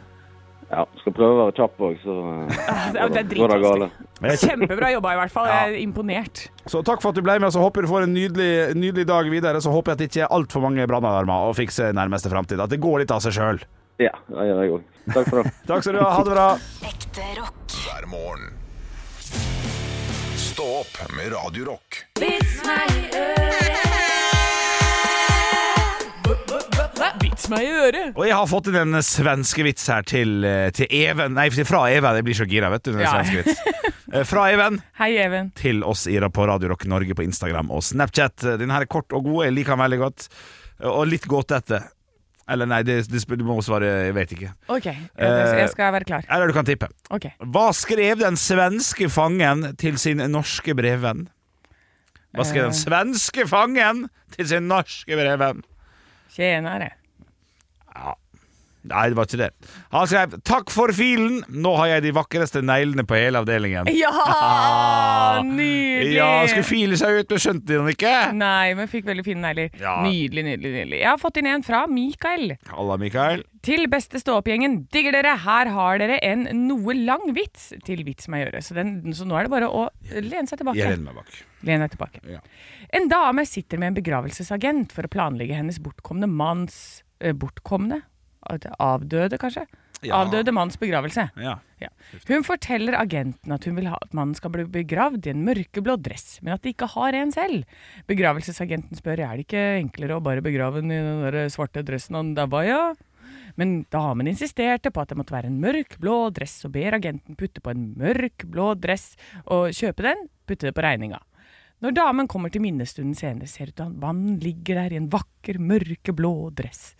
Speaker 4: Ja, skal prøve å være kjapp òg, så eh,
Speaker 3: <laughs> Ja, men det er
Speaker 4: går det gale.
Speaker 3: dritvanskelig. Kjempebra jobba, i hvert fall. Jeg er imponert.
Speaker 2: Så takk for at du ble med, så håper du får en nydelig, nydelig dag videre. Så håper jeg at det ikke er altfor mange brannalarmer å fikse i nærmeste framtid. At det går litt av seg sjøl.
Speaker 4: Ja, det gjør jeg òg. Takk for det.
Speaker 2: Takk skal du ha. Ha det bra.
Speaker 8: Ekte rock.
Speaker 1: hver morgen. Stå opp med Radio Rock.
Speaker 3: Vits meg i øret!
Speaker 2: Og jeg har fått inn en svenske vits her til, eh, til Even Nei, til- fra Even. Jeg blir så gira, vet du. Når det er
Speaker 3: Ja.
Speaker 2: svenske vits. Eh, Fra Even
Speaker 3: Hei, Even.
Speaker 2: til oss i på Radio Rock Norge på Instagram og Snapchat. Eh, Den her er kort og god. Jeg liker den veldig godt. Eh, Og litt gåtete. Eller nei, det, det, du må svare Jeg vet ikke.
Speaker 3: OK,
Speaker 2: Eh,
Speaker 3: jeg skal være klar.
Speaker 2: Eller du kan tippe.
Speaker 3: OK.
Speaker 2: Hva skrev den svenske fangen til sin norske brevvenn? Hva skrev den svenske fangen til sin norske brevvenn?
Speaker 3: Tjenere.
Speaker 2: Nei, det var ikke det. Han skrev 'Takk for filen, nå har jeg de vakreste neglene på hele avdelingen'. <laughs>
Speaker 3: Ja! Nydelig!
Speaker 2: Ja, han skulle file seg ut, men skjønte de den ikke?
Speaker 3: Nei, men fikk veldig fine negler.
Speaker 2: Ja.
Speaker 3: Nydelig, nydelig, nydelig. Jeg har fått inn en fra Mikael.
Speaker 2: Halla, Mikael.
Speaker 3: Til beste stå-opp-gjengen, digger dere! Her har dere en noe lang vits til vits meg gjøre. Så, den, så nå er det bare å lene seg tilbake.
Speaker 2: Jeg lener meg bak.
Speaker 3: Len deg tilbake.
Speaker 2: Ja.
Speaker 3: En dame sitter med en begravelsesagent for å planlegge hennes bortkomne manns eh, Bortkomne? Avdøde, kanskje?
Speaker 2: Ja.
Speaker 3: Avdøde manns begravelse.
Speaker 2: Ja.
Speaker 3: Ja. Hun forteller agenten at hun vil ha at mannen skal bli begravd i en mørkeblå dress, men at de ikke har en selv. Begravelsesagenten spør er det ikke enklere å bare begrave den i den der svarte dressen han daua i. ja?» Men damen insisterte på at det måtte være en mørkblå dress, og ber agenten putte på en mørkblå dress og kjøpe den, putte det på regninga. Når damen kommer til minnestunden senere, ser hun at mannen ligger der i en vakker, mørkeblå dress.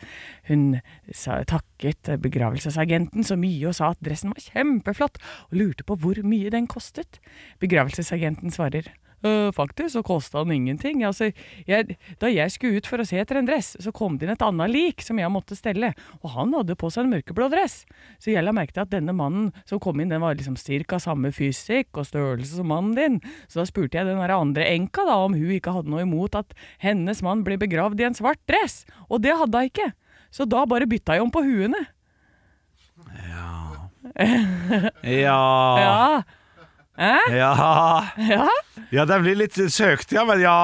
Speaker 3: Hun sa, takket begravelsesagenten så mye og sa at dressen var kjempeflott, og lurte på hvor mye den kostet. Begravelsesagenten svarer. «Øh, faktisk så kosta den ingenting. Altså, jeg, da jeg skulle ut for å se etter en dress, så kom det inn et annet lik som jeg måtte stelle, og han hadde på seg en mørkeblå dress. Så jeg la merke til at denne mannen som kom inn, den var liksom cirka samme fysikk og størrelse som mannen din. Så da spurte jeg den der andre enka da om hun ikke hadde noe imot at hennes mann ble begravd i en svart dress, og det hadde hun ikke. Så da bare bytta jeg om på huene.
Speaker 2: Ja.
Speaker 3: Ja,
Speaker 2: Ja.
Speaker 3: ja.
Speaker 2: ja den blir litt søkt, ja, men ja.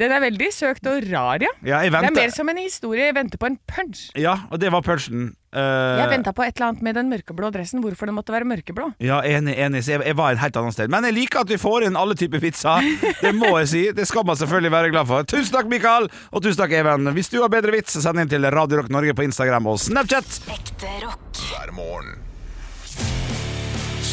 Speaker 3: Den er veldig søkt og rar, ja.
Speaker 2: Ja, jeg
Speaker 3: Det er mer
Speaker 2: venter.
Speaker 3: som en historie. Jeg venter på en punch.
Speaker 2: Ja, og det var punchen. Eh,
Speaker 3: Jeg venta på et eller annet med den mørkeblå dressen. Hvorfor den måtte være mørkeblå.
Speaker 2: Ja, enig, enig. Så jeg, jeg var et helt annet sted. Men jeg liker at vi får inn alle typer pizza. Det må jeg si. Det skal man selvfølgelig være glad for. Tusen takk, Mikael, og tusen takk, Even. Hvis du har bedre vits, så send inn til Radio Rock Norge på Instagram og Snapchat.
Speaker 8: Ekte rock.
Speaker 1: hver morgen.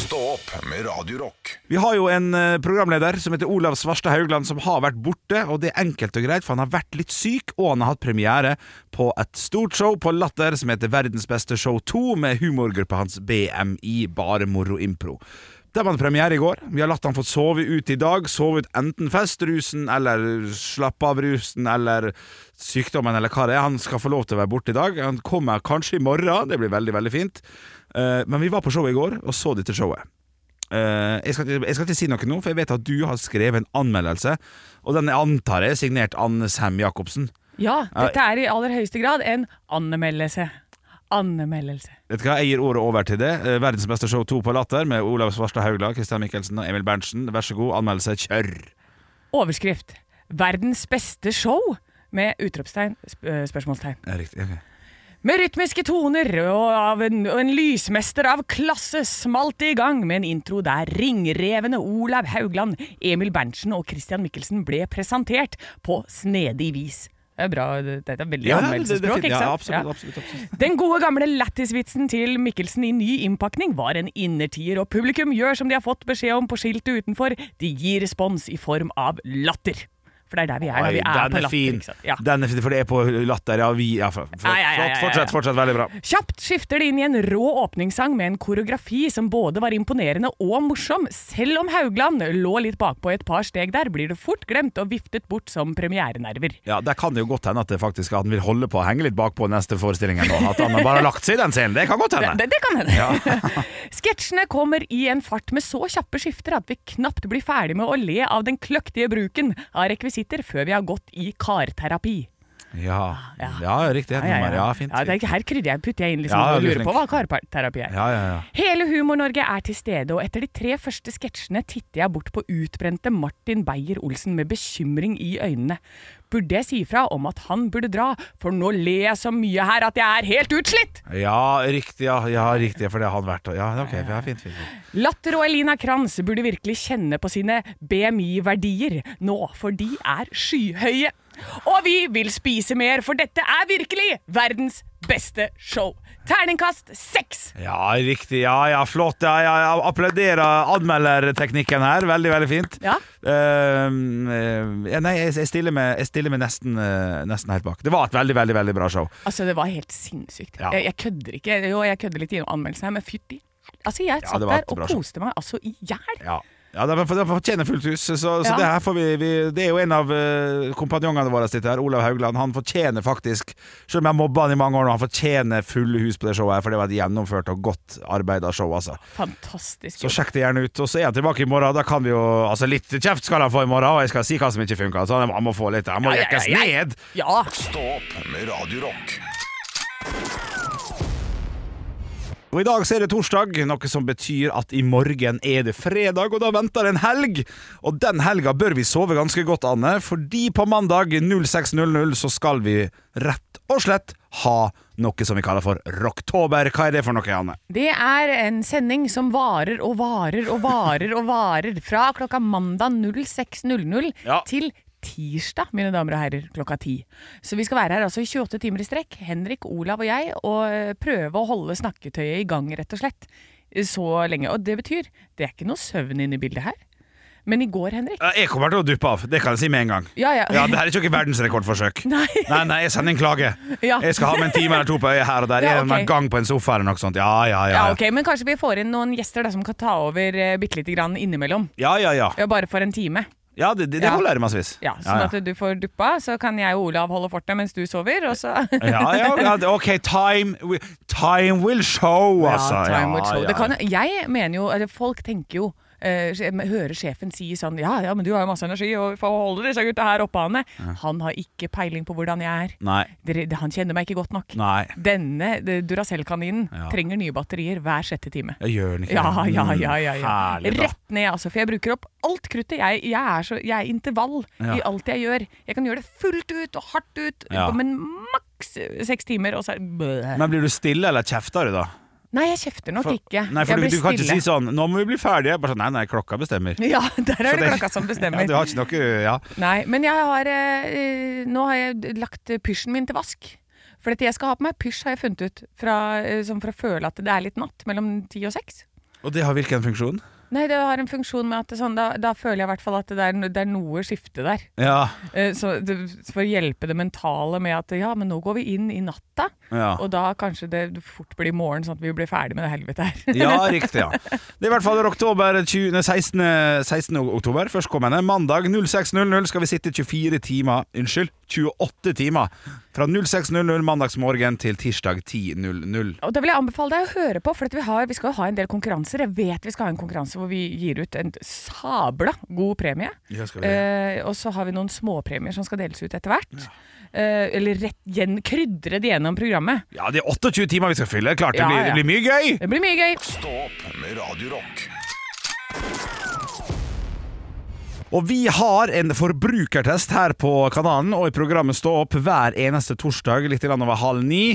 Speaker 1: Stå opp med Radio Rock.
Speaker 2: Vi har jo en eh, programleder som heter Olav Svarstad Haugland, som har vært borte. Og det er enkelt og greit, for han har vært litt syk, og han har hatt premiere på et stort show på Latter som heter Verdens beste show 2, med humorgruppa hans BMI, Bare Moro Impro. Der var det premiere i går. Vi har latt han få sove ut i dag. Sove ut enten festrusen eller slappe av rusen eller sykdommen eller hva det er. Han skal få lov til å være borte i dag. Han kommer kanskje i morgen, det blir veldig, veldig fint. Eh, Men vi var på showet i går og så dette showet. Eh, jeg, skal, ikke- jeg skal ikke si noe nå, for jeg vet at du har skrevet en anmeldelse. Og den jeg antar jeg er signert Anne Sem Jacobsen.
Speaker 3: Ja, dette er i aller høyeste grad en anmeldelse. Anmeldelse.
Speaker 2: Vet du hva, Jeg gir ordet over til det. Eh, Verdens beste show 2 på Latter med Olav Svarstad Haugland, Christian Michelsen og Emil Berntsen. Vær så god, anmeldelse kjør!
Speaker 3: Overskrift. Verdens beste show? Med utropstegn, sp øh, spørsmålstegn.
Speaker 2: Eh, Riktig. ok.
Speaker 3: Med rytmiske toner og, av en, og en lysmester av klasse smalt det i gang med en intro der ringrevene Olav Haugland, Emil Berntsen og Christian Mikkelsen ble presentert på snedig vis. Det er bra, dette er veldig anmeldelsesspråk,
Speaker 2: fint.
Speaker 3: ikke sant?
Speaker 2: Ja, absolutt,
Speaker 3: Ja.
Speaker 2: absolutt, absolutt.
Speaker 3: Den gode gamle lættisvitsen til Mikkelsen i ny innpakning var en innertier, og publikum gjør som de har fått beskjed om på skiltet utenfor. De gir respons i form av latter. For det er der vi er. da.
Speaker 2: Oi,
Speaker 3: vi er
Speaker 2: den
Speaker 3: på
Speaker 2: er
Speaker 3: latter,
Speaker 2: fin.
Speaker 3: ikke sant? Ja.
Speaker 2: Den er fin, for det er på latter. Ja, vi, ja, flott,
Speaker 3: Ja, ja, ja, ja,
Speaker 2: flott.
Speaker 3: ja.
Speaker 2: Fortsett, fortsett. Veldig bra.
Speaker 3: Kjapt skifter det inn i en rå åpningssang med en koreografi som både var imponerende og morsom. Selv om Haugland lå litt bakpå et par steg der, blir det fort glemt og viftet bort som premierenerver.
Speaker 2: Ja, Der kan det jo godt hende at det faktisk at han vil holde på å henge litt bakpå neste forestilling. Nå, at han bare har lagt seg i den scenen. Det kan godt
Speaker 3: Det,
Speaker 2: hende.
Speaker 3: det, det kan hende. <laughs> Sketsjene kommer i en fart med så kjappe skifter at vi knapt blir ferdig med å le av den kløktige bruken av rekvisitter før vi har gått i karterapi.
Speaker 2: Ja, ja, riktig. Et nummer. Ja, fint.
Speaker 3: Ja, det er- her krydder jeg, putter jeg inn liksom,
Speaker 2: Ja, ja,
Speaker 3: og
Speaker 2: du er
Speaker 3: lurer på hva
Speaker 2: flink.
Speaker 3: karterapi er.
Speaker 2: Ja, ja, ja.
Speaker 3: Hele Humor-Norge er til stede, og etter de tre første sketsjene titter jeg bort på utbrente Martin Beyer-Olsen med bekymring i øynene. Burde jeg si fra om at han burde dra, for nå ler jeg så mye her at jeg er helt utslitt!
Speaker 2: Ja, riktig, ja, ja, riktig, for det har han vært. Ja, ok, ja, fint, fint, fint.
Speaker 3: Latter og Elina Kranz burde virkelig kjenne på sine BMI-verdier nå, for de er skyhøye. Og vi vil spise mer, for dette er virkelig verdens beste show. Terningkast seks!
Speaker 2: Ja, riktig, ja, ja, flott. Ja, ja, ja. Applauderer anmelderteknikken her. Veldig, veldig fint.
Speaker 3: Ja.
Speaker 2: Ehm, eh, ja, nei, jeg, jeg stiller med, jeg stiller med nesten, eh, nesten helt bak. Det var et veldig, veldig, veldig bra show.
Speaker 3: Altså, det var helt sinnssykt.
Speaker 2: Ja.
Speaker 3: Jeg, jeg kødder ikke. Jo, jeg kødder litt i anmeldelsen her, men fytti Altså, jeg satt
Speaker 2: det var
Speaker 3: der
Speaker 2: et
Speaker 3: og
Speaker 2: bra show.
Speaker 3: koste meg altså i hjel.
Speaker 2: Ja. Ja, det for- det fortjener fullt hus. Så, så
Speaker 3: Ja.
Speaker 2: det her får vi, vi Det er jo en av eh, kompanjongene våre sitter her, Olav Haugland. Han fortjener faktisk, selv om jeg mobba han i mange år nå, han fortjener fulle hus på det showet her, for det var et gjennomført og godt arbeida show, altså.
Speaker 3: Fantastisk.
Speaker 2: Så
Speaker 3: jobb.
Speaker 2: sjekk det gjerne ut. Og så er han tilbake i morgen. Da kan vi jo Altså, litt kjeft skal han få i morgen, og jeg skal si hva som ikke funka. Så han han må få litt Han må
Speaker 3: Ja, ja,
Speaker 2: jekkes
Speaker 3: ja, ja.
Speaker 2: ned.
Speaker 3: Ja.
Speaker 1: Stå opp med Radio Rock.
Speaker 2: Og i dag så er det torsdag, noe som betyr at i morgen er det fredag, og da venter en helg. Og den helga bør vi sove ganske godt, Anne, fordi på mandag 06.00 så skal vi rett og slett ha noe som vi kaller for Rocktober. Hva er det for noe, Anne?
Speaker 3: Det er en sending som varer og varer og varer og varer. Fra klokka mandag 06.00
Speaker 2: Ja.
Speaker 3: til tirsdag, mine damer og herrer, klokka ti. Så vi skal være her altså i 28 timer i strekk, Henrik, Olav og jeg, og eh, prøve å holde snakketøyet i gang, rett og slett. eh, Så lenge. Og det betyr Det er ikke noe søvn inne i bildet her. Men i går, Henrik
Speaker 2: Eh, Jeg kommer til å duppe av, det kan jeg si med en gang.
Speaker 3: Ja, ja.
Speaker 2: det her er ikke noe verdensrekordforsøk.
Speaker 3: <laughs> Nei.
Speaker 2: nei, nei, jeg sender en klage.
Speaker 3: Ja.
Speaker 2: Jeg skal ha med en time eller to på øyet her og der.
Speaker 3: Ja,
Speaker 2: En
Speaker 3: ok.
Speaker 2: gang på en sofa eller noe sånt. Ja, ja, ja.
Speaker 3: Ja,
Speaker 2: Ja,
Speaker 3: ok, Men kanskje vi får inn noen gjester da, som kan ta over eh, bitte lite grann innimellom.
Speaker 2: ja, ja, ja.
Speaker 3: Ja, bare for en time.
Speaker 2: ja det, det, det
Speaker 3: Ja.
Speaker 2: holder jeg massevis.
Speaker 3: Ja, Sånn at du får duppa, så kan jeg og Olav holde fortet mens du sover. Og så <laughs>
Speaker 2: Ja, ja, ja, det- ok, time, wi- time will show, altså.
Speaker 3: Ja, time will
Speaker 2: Ja,
Speaker 3: show.
Speaker 2: ja,
Speaker 3: Det kan, jeg mener jo, eller folk tenker jo eh, Hører sjefen si sånn Ja, ja, men du har jo masse energi og vi får holde disse gutta her oppe, Anne. Han har ikke peiling på hvordan jeg er.
Speaker 2: Nei,
Speaker 3: Dere- Han kjenner meg ikke godt nok.
Speaker 2: nei,
Speaker 3: Denne eh, Duracell-kaninen
Speaker 2: Ja.
Speaker 3: trenger nye batterier hver sjette time.
Speaker 2: jeg gjør den ikke.
Speaker 3: Ja,
Speaker 2: det?
Speaker 3: ja,
Speaker 2: Mm,
Speaker 3: ja, ja, ja.
Speaker 2: Herlig, da.
Speaker 3: Rett ned, altså. For jeg bruker opp alt kruttet. Jeg, jeg, er, så, jeg er intervall
Speaker 2: Ja.
Speaker 3: i alt jeg gjør. Jeg kan gjøre det fullt ut og hardt ut,
Speaker 2: Ja.
Speaker 3: men maks seks timer, og så er det bleh.
Speaker 2: Men blir du stille, eller kjefter du da?
Speaker 3: Nei, jeg kjefter nok
Speaker 2: For-
Speaker 3: ikke.
Speaker 2: Nei, for
Speaker 3: jeg
Speaker 2: du,
Speaker 3: blir
Speaker 2: du kan ikke
Speaker 3: stille.
Speaker 2: si sånn, nå må vi bli ferdige. Jeg Bare sånn, nei, nei, klokka bestemmer.
Speaker 3: <laughs> Ja, der
Speaker 2: Så
Speaker 3: er det
Speaker 2: det-
Speaker 3: klokka som
Speaker 2: <laughs> Ja,
Speaker 3: bestemmer.
Speaker 2: du har ikke noe, ja.
Speaker 3: Nei, men jeg har eh, eh, Nå har jeg d- lagt eh, pysjen min til vask. For dette jeg skal ha på meg, pysj har jeg funnet ut. Fra, eh, sånn for å føle at det er litt natt mellom ti og seks.
Speaker 2: Og det har hvilken funksjon?
Speaker 3: Nei, det har en funksjon med at det, er sånn, da, da føler jeg i hvert fall at det er, no- det er noe skifte der.
Speaker 2: Ja,
Speaker 3: Eh, Så det, for å hjelpe det mentale med at ja, men nå går vi inn i natta,
Speaker 2: ja.
Speaker 3: og da kanskje det fort blir morgen, sånn at vi blir ferdig med det helvete her.
Speaker 2: Ja, riktig. ja Det er i hvert fall oktober 20, nei, 16, 16. oktober. Førstkommende mandag 06.00 skal vi sitte 24 timer Unnskyld, 28 timer. Fra 06.00 mandagsmorgen til tirsdag 10.00.
Speaker 3: <laughs> Og da vil jeg anbefale deg å høre på, for at vi, har, vi skal jo ha en del konkurranser. Jeg vet vi skal ha en konkurranse hvor vi gir ut en sabla god premie.
Speaker 2: Ja, skal vi det?
Speaker 3: Eh, og så har vi noen småpremier som skal deles ut etter hvert. Eh, eller rett gjen, krydret gjennom programmet.
Speaker 2: Ja, det er 28 timer vi skal fylle. Klart, det,
Speaker 3: Ja,
Speaker 2: blir, det
Speaker 3: ja.
Speaker 2: blir mye gøy!
Speaker 3: Det blir mye gøy. <laughs>
Speaker 1: Stå opp med Radio Rock.
Speaker 2: Og vi har en forbrukertest her på kanalen og i programmet Stå opp hver eneste torsdag litt grann over halv ni.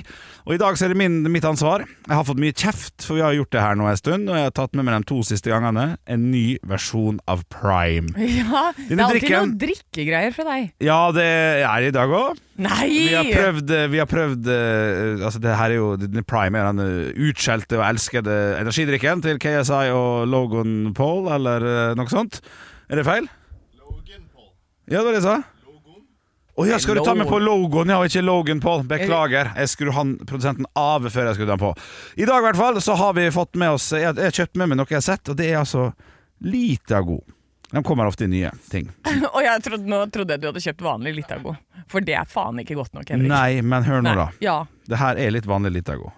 Speaker 2: Og i dag så er det min, mitt ansvar. Jeg har fått mye kjeft, for vi har gjort det her nå en stund, og jeg har tatt med meg de to siste gangene en ny versjon av Prime.
Speaker 3: Ja, det er alltid
Speaker 2: drikken-
Speaker 3: noen drikkegreier fra deg.
Speaker 2: Ja, det er i dag òg.
Speaker 3: Nei!
Speaker 2: Vi har prøvd, vi har prøvd eh, Altså, det her er jo den Prime, er den eh, utskjelte og elskede energidrikken til KSI og Logan Paul, eller eh, noe sånt. Er det feil? Logan Paul. Ja, det var det jeg sa. Å ja, skal du ta med på logoen? Ja, og ikke Logan Paul. Beklager. Jeg skrur han produsenten av før jeg skrudde han på. I dag i hvert fall så har vi fått med oss Jeg jeg har kjøpt med meg noe jeg har sett, og det er altså Litago. De kommer ofte i nye ting.
Speaker 3: Og jeg trodde, nå trodde jeg du hadde kjøpt vanlig Litago. For det er faen ikke godt nok, Henrik.
Speaker 2: Nei, men hør nå,
Speaker 3: Nei.
Speaker 2: da.
Speaker 3: Ja.
Speaker 2: Det her er litt vanlig Litago,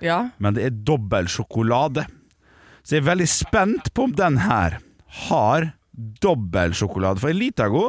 Speaker 3: ja.
Speaker 2: men det er dobbel sjokolade. Så jeg er veldig spent på om den her har dobbel sjokolade. For Litago,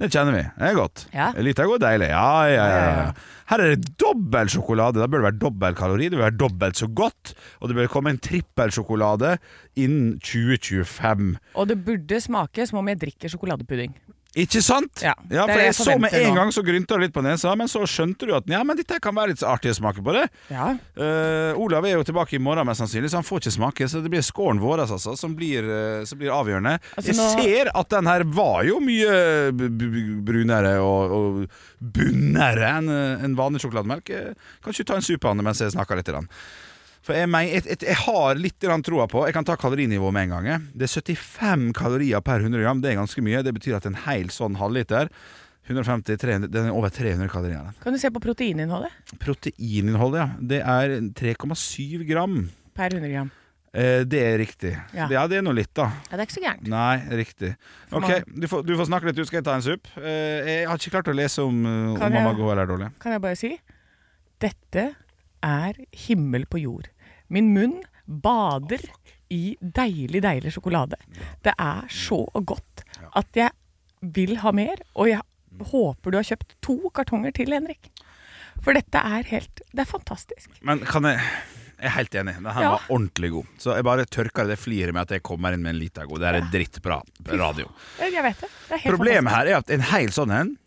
Speaker 2: det kjenner vi. Det er godt.
Speaker 3: Ja.
Speaker 2: Litago er deilig. Ja, ja, ja, ja. Her er det dobbel sjokolade. Da bør det være dobbel kalori. Det bør være dobbelt så godt. Og det bør komme en trippel sjokolade innen 2025.
Speaker 3: Og det burde smake som om jeg drikker sjokoladepudding.
Speaker 2: Ikke sant?
Speaker 3: Ja, det er
Speaker 2: for
Speaker 3: det
Speaker 2: jeg
Speaker 3: jeg
Speaker 2: så med
Speaker 3: forventer
Speaker 2: en
Speaker 3: nå.
Speaker 2: gang så grynta det litt på nesa, men så skjønte du at ja, men dette kan være litt så artig å smake på det.
Speaker 3: Ja.
Speaker 2: Eh, Olav er jo tilbake i morgen, mest sannsynlig, så han får ikke smake. Så det blir skåren vår altså, som, blir, eh, som blir avgjørende.
Speaker 3: Altså,
Speaker 2: Jeg
Speaker 3: nå-
Speaker 2: ser at den her var jo mye eh, b- b- brunere og, og bunnere enn eh, enn vanlig sjokolademelk. Eh, Kan ikke du ta en sup av den mens jeg snakker litt? Grann? For jeg, men- jeg, jeg, jeg har litt grann troa på Jeg kan ta kalorinivået med en gang. jeg. Det er 75 kalorier per 100 gram. Det er ganske mye. Det betyr at en hel sånn halvliter 150, 300, Den er over 300 kalorier. den.
Speaker 3: Kan du se på proteininnholdet
Speaker 2: Proteininnholdet, ja. Det er 3,7 gram.
Speaker 3: per 100 gram?
Speaker 2: Eh, det er riktig.
Speaker 3: Ja.
Speaker 2: Det, ja, det er nå litt, da.
Speaker 3: Ja, det er ikke så gærent.
Speaker 2: Nei, riktig. Ok, du får, du får snakke litt, du. Skal jeg ta en sup? Eh, jeg har ikke klart å lese om, eh, om
Speaker 3: Kan
Speaker 2: mamma
Speaker 3: jeg-
Speaker 2: god eller dårlig.
Speaker 3: Kan jeg bare si dette er himmel på jord. Min munn bader i deilig, deilig sjokolade. Det er så godt at jeg vil ha mer, og jeg håper du har kjøpt to kartonger til, Henrik. For dette er helt Det er fantastisk.
Speaker 2: Men kan jeg Jeg er helt enig. Den her
Speaker 3: Ja.
Speaker 2: var ordentlig god. Så jeg bare tørker det fliret med at jeg kommer inn med en liten god. Det her er drittbra radio.
Speaker 3: Jeg- Jeg vet det. det er helt
Speaker 2: Problemet
Speaker 3: fantastisk.
Speaker 2: her er at en hel sånn en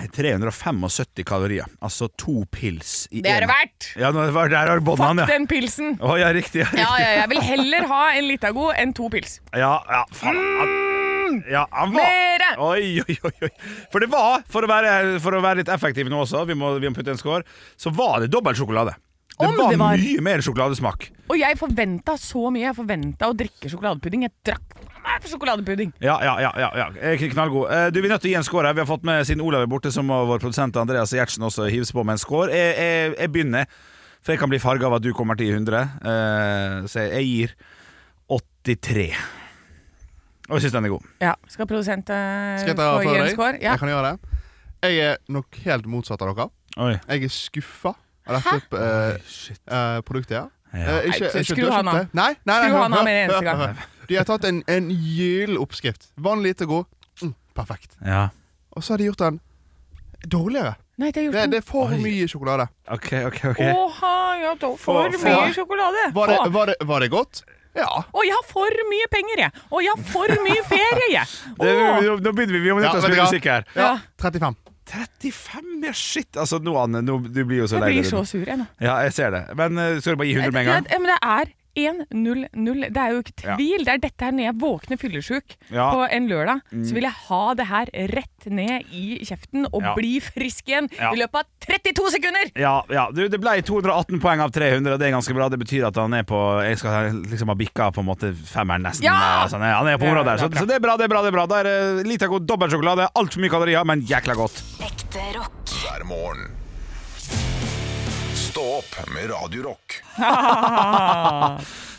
Speaker 2: er 375 kalorier. Altså to pils i
Speaker 3: Det er
Speaker 2: en-
Speaker 3: det verdt!
Speaker 2: Ja, nå, var- der har du båndet
Speaker 3: Fuck
Speaker 2: han, ja.
Speaker 3: den
Speaker 7: <laughs>
Speaker 3: pilsen!
Speaker 2: Å, ja, riktig. Ja, riktig.
Speaker 3: Ja, ja, jeg vil heller ha en Litago enn to pils.
Speaker 2: Ja, ja, faen han, ja, han var
Speaker 3: Mm. Mere!
Speaker 2: Oi, oi, oi, oi For det var, for å være, for å være litt effektiv nå også Vi må, vi må putte en skår Så var det dobbelt sjokolade det
Speaker 3: Om
Speaker 2: var,
Speaker 3: det var-
Speaker 2: mye mer sjokoladesmak
Speaker 3: Og jeg forventa så mye. Jeg forventa å drikke sjokoladepudding. Jeg drakk sjokoladepudding.
Speaker 2: Ja, ja, ja, ja, ja. Eh, knallgod Eh, Du, vi er nødt til å gi en skår her Vi har fått med sin Olav er borte Som og vår produsent Andreas Gjertsen også hivs på med en skår Jeg, jeg, jeg begynner For jeg kan bli farget av at du kommer til 100 eh, Så jeg gir 83 Og jeg synes den er god
Speaker 3: Ja, Skal produsent eh,
Speaker 7: Skal jeg ta
Speaker 3: få
Speaker 7: for
Speaker 3: gi en
Speaker 7: deg?
Speaker 3: score? Ja.
Speaker 7: Jeg kan gjøre det. Jeg er nok helt motsatt av dere.
Speaker 2: Oi
Speaker 7: Jeg er skuffa av dette eh, eh, produktet. her.
Speaker 2: Ja.
Speaker 7: Eh,
Speaker 3: Nei,
Speaker 7: ikke- ikke
Speaker 3: skru
Speaker 7: du har
Speaker 3: han
Speaker 7: kjøpt
Speaker 3: av.
Speaker 7: det. Nei, nei, nei,
Speaker 3: Skru
Speaker 7: hør,
Speaker 3: han av
Speaker 7: hør,
Speaker 3: med en eneste
Speaker 7: hør,
Speaker 3: gang.
Speaker 7: hør. De har tatt en, en gyllen oppskrift. Vanlig til god. Mm, perfekt.
Speaker 2: Ja
Speaker 7: Og så har de gjort den dårligere.
Speaker 3: Nei, det har
Speaker 7: Det,
Speaker 3: gjort
Speaker 7: det er for
Speaker 2: Oi.
Speaker 7: mye sjokolade.
Speaker 2: Ok, ok, ok
Speaker 3: noe. Åha, jeg har to- for
Speaker 2: Få-
Speaker 3: mye
Speaker 7: få-
Speaker 3: sjokolade.
Speaker 7: Var det,
Speaker 3: Få.
Speaker 7: var det, var det godt? Ja.
Speaker 3: Og jeg har for mye penger, jeg. Og jeg har for mye ferie, jeg.
Speaker 2: Det,
Speaker 3: Åh.
Speaker 2: nå- nå begynner vi, vi må
Speaker 7: Ja,
Speaker 2: nødt til å
Speaker 7: vet du
Speaker 2: spille
Speaker 7: hva?
Speaker 2: musikk her.
Speaker 3: Ja.
Speaker 7: 35.
Speaker 2: 35, ja, shit! Altså, nå, Anne, nå, du blir jo så
Speaker 3: Jeg
Speaker 2: lei
Speaker 3: blir
Speaker 2: deg.
Speaker 3: så sur, jeg nå.
Speaker 2: Ja, jeg ser det. Men eh, skal du bare gi 100 med en gang?
Speaker 3: Ja, men det er 1-0-0. Det er jo ikke
Speaker 2: Ja.
Speaker 3: tvil. Det er dette her når jeg våkner fyllesyk
Speaker 2: Ja. Mm.
Speaker 3: på en lørdag. Så vil jeg ha det her rett ned i kjeften og
Speaker 2: Ja.
Speaker 3: bli frisk igjen
Speaker 2: Ja.
Speaker 3: i løpet av 32 sekunder!
Speaker 2: Ja, ja. Du, det ble 218 poeng av 300, og det er ganske bra. Det betyr at han er på Jeg skal liksom ha bikka på en måte femmeren, nesten.
Speaker 3: Ja!
Speaker 2: eh, Sånn, ja, han er på
Speaker 3: Ja,
Speaker 2: området der.
Speaker 3: det er
Speaker 2: Så,
Speaker 3: bra.
Speaker 2: så det er bra, det er bra. det er bra Da er det lite god dobbeltsjokolade. Altfor mye kalorier, men jækla godt.
Speaker 8: Ekte rock.
Speaker 1: hver morgen. Stå opp med Radio Rock.
Speaker 2: Ah.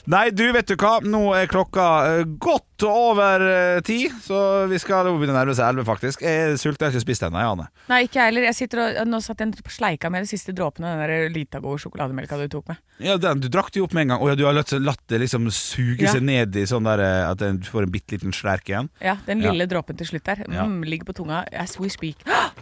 Speaker 2: Nei, du, vet du hva? Nå er klokka eh, godt over eh, ti, så vi skal nå begynne å nærme seg elleve, faktisk. Jeg er sulten, jeg har ikke spist ennå, jeg, Ane.
Speaker 3: <laughs> Nei, ikke jeg heller. Jeg sitter og, nå satt jeg og sleika med de siste dråpene av den der Litago sjokolademelka du tok med.
Speaker 2: Ja, den, Du drakk det jo opp med en gang. Å ja, du har latt, latt det liksom suge
Speaker 3: Ja.
Speaker 2: seg ned i sånn der eh, at den- du får en bitte liten slerk igjen.
Speaker 3: Ja, Den
Speaker 2: Ja.
Speaker 3: lille dråpen til slutt der. Mm,
Speaker 2: Ja.
Speaker 3: Ligger på tunga as we speak. <gasps>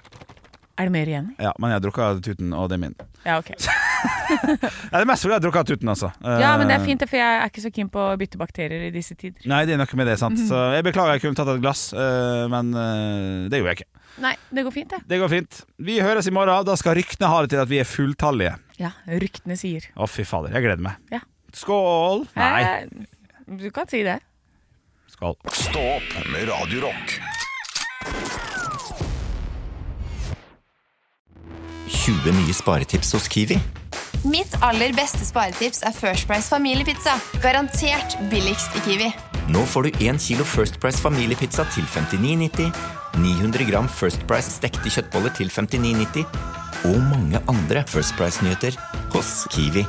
Speaker 3: Er det mer igjen?
Speaker 2: Ja, Men jeg har drukket tuten, og det er min.
Speaker 3: Ja,
Speaker 2: <laughs>
Speaker 3: ok.
Speaker 2: Ja, det er mest fordi jeg har drukket tuten, altså. Eh,
Speaker 3: Ja, men det er fint, det, for jeg er ikke så keen på å bytte bakterier i disse tider.
Speaker 2: Nei, det er noe med det,
Speaker 3: Mhm.
Speaker 2: sant. Så jeg beklager, jeg kunne tatt et glass, eh, men eh, det gjorde jeg ikke.
Speaker 3: Nei, det går fint, det.
Speaker 2: Det går fint. Vi høres i morgen. Da skal ryktene ha det til at vi er fulltallige.
Speaker 3: Ja, ryktene sier.
Speaker 2: Å, fy fader. Jeg gleder meg.
Speaker 3: Ja.
Speaker 2: Skål! Nei.
Speaker 3: Eh, Du kan si det.
Speaker 2: Skål.
Speaker 1: Stå opp med Radio Rock.
Speaker 9: 20 nye sparetips hos Kiwi. Mitt aller beste sparetips er First Price familiepizza. Garantert billigst i Kiwi.
Speaker 10: Nå får du 1 kilo First Price familiepizza til 59,90, 900 gram First Price stekte kjøttboller til 59,90 og mange andre First Price-nyheter hos Kiwi.